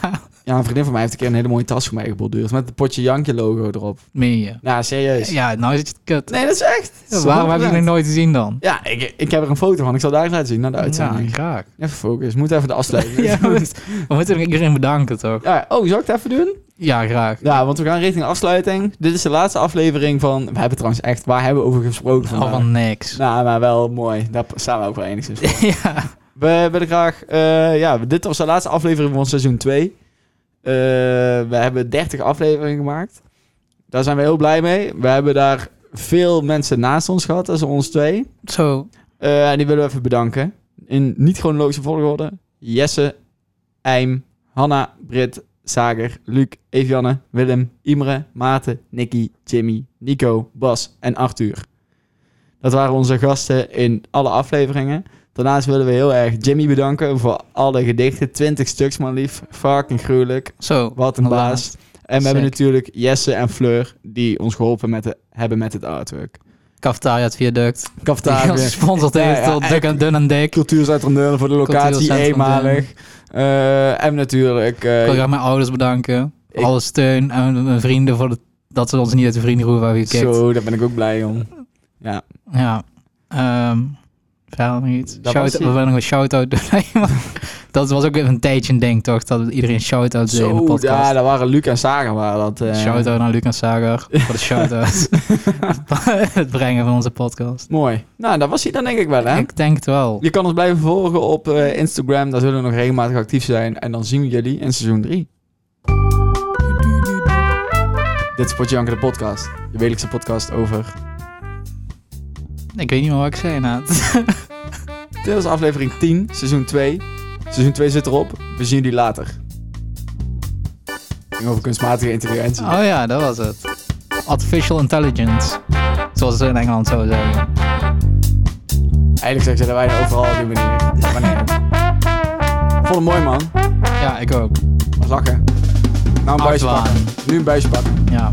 Speaker 1: Ja, een vriendin van mij heeft een keer een hele mooie tas voor mij geborduurd. Met het potje Jankje logo erop.
Speaker 2: meen je.
Speaker 1: Nou, serieus.
Speaker 2: Ja, nou is het kut.
Speaker 1: Nee, dat is echt.
Speaker 2: Ja, waarom heb je die nog nooit gezien dan?
Speaker 1: Ja, ik, ik heb er een foto van. Ik zal daar eens laten zien, naar de
Speaker 2: Ja,
Speaker 1: uitzending.
Speaker 2: graag.
Speaker 1: Even focus. Moet even de afsluiting.
Speaker 2: Ja,
Speaker 1: ja,
Speaker 2: we, we moeten iedereen bedanken, toch?
Speaker 1: oh, zal ik het even doen?
Speaker 2: Ja, graag.
Speaker 1: Ja, want we gaan richting afsluiting. Dit is de laatste aflevering van... We hebben trouwens echt... Waar hebben we over gesproken
Speaker 2: Al
Speaker 1: vandaag?
Speaker 2: van niks.
Speaker 1: Nou, maar wel mooi. Daar staan we ook wel enigszins voor.
Speaker 2: ja,
Speaker 1: We willen graag... eh, ja, dit was de laatste aflevering van seizoen 2. we hebben 30 afleveringen gemaakt. Daar zijn we heel blij mee. We hebben daar veel mensen naast ons gehad. Dat is ons twee.
Speaker 2: zo.
Speaker 1: Eh, en die willen we even bedanken. In niet chronologische volgorde. Jesse, Eim, Hanna, Britt, Zager, Luc, Evianne, Willem, Imre, Maarten, Nicky, Jimmy, Nico, Bas en Arthur. Dat waren onze gasten in alle afleveringen. Daarnaast willen we heel erg Jimmy bedanken voor alle gedichten. 20 stuks, man lief. Fucking gruwelijk.
Speaker 2: Zo.
Speaker 1: Wat een baas. En we hebben
Speaker 2: Sick.
Speaker 1: natuurlijk Jesse en Fleur die ons geholpen met de, hebben met het artwork.
Speaker 2: Cafetaria het viaduct. Die
Speaker 1: Kaftaar.
Speaker 2: ons gesponsord
Speaker 1: Ja,
Speaker 2: heeft
Speaker 1: ja,
Speaker 2: tot
Speaker 1: en-
Speaker 2: Duk en Dun en Dik. Ik
Speaker 1: Cultuurcentrum Deurne voor de locatie,
Speaker 2: Cultuurcentrum
Speaker 1: eenmalig. Eh, en natuurlijk... eh,
Speaker 2: wil graag mijn ouders bedanken. Voor
Speaker 1: Ik-
Speaker 2: alle steun. En mijn- mijn vrienden voor de, dat ze ons niet uit de vriendengroep hebben gekikt.
Speaker 1: zo, daar ben ik ook blij om. Ja,
Speaker 2: Ja. Ehm verder nog iets.
Speaker 1: Dat was
Speaker 2: Shout,
Speaker 1: het.
Speaker 2: we willen nog een shout-out doen. Nee, maar dat was ook even een tijdje een ding, toch? Dat iedereen shout-out deed in de
Speaker 1: zo,
Speaker 2: podcast.
Speaker 1: ja, daar waren Luc en Sarah waren dat. eh,
Speaker 2: Shout-out naar Lucas Sager voor de shout-out. het brengen van onze podcast.
Speaker 1: Mooi. Nou, dat was hij dan denk ik wel, hè?
Speaker 2: Ik denk het wel.
Speaker 1: Je kan ons blijven volgen op eh, Instagram. Daar zullen we nog regelmatig actief zijn. En dan zien we jullie in seizoen 3. Dit is Potje Janker, de podcast. De wekelijkse podcast over...
Speaker 2: Ik weet niet meer wat ik zei, Naat.
Speaker 1: Dit was aflevering 10, seizoen 2. Seizoen 2 zit erop. We zien jullie later. Ging over kunstmatige intelligentie.
Speaker 2: Oh ja, dat was het. Artificial intelligence. Zoals ze in Engeland zouden zeggen.
Speaker 1: Eigenlijk zeg zetten wij er overal op die manier. Maar nee. Ik Vond het mooi, man.
Speaker 2: Ja, ik ook.
Speaker 1: Was lachen. Nou, een buisje
Speaker 2: Afdwalen.
Speaker 1: pakken. Nu een buisje pakken.
Speaker 2: Ja.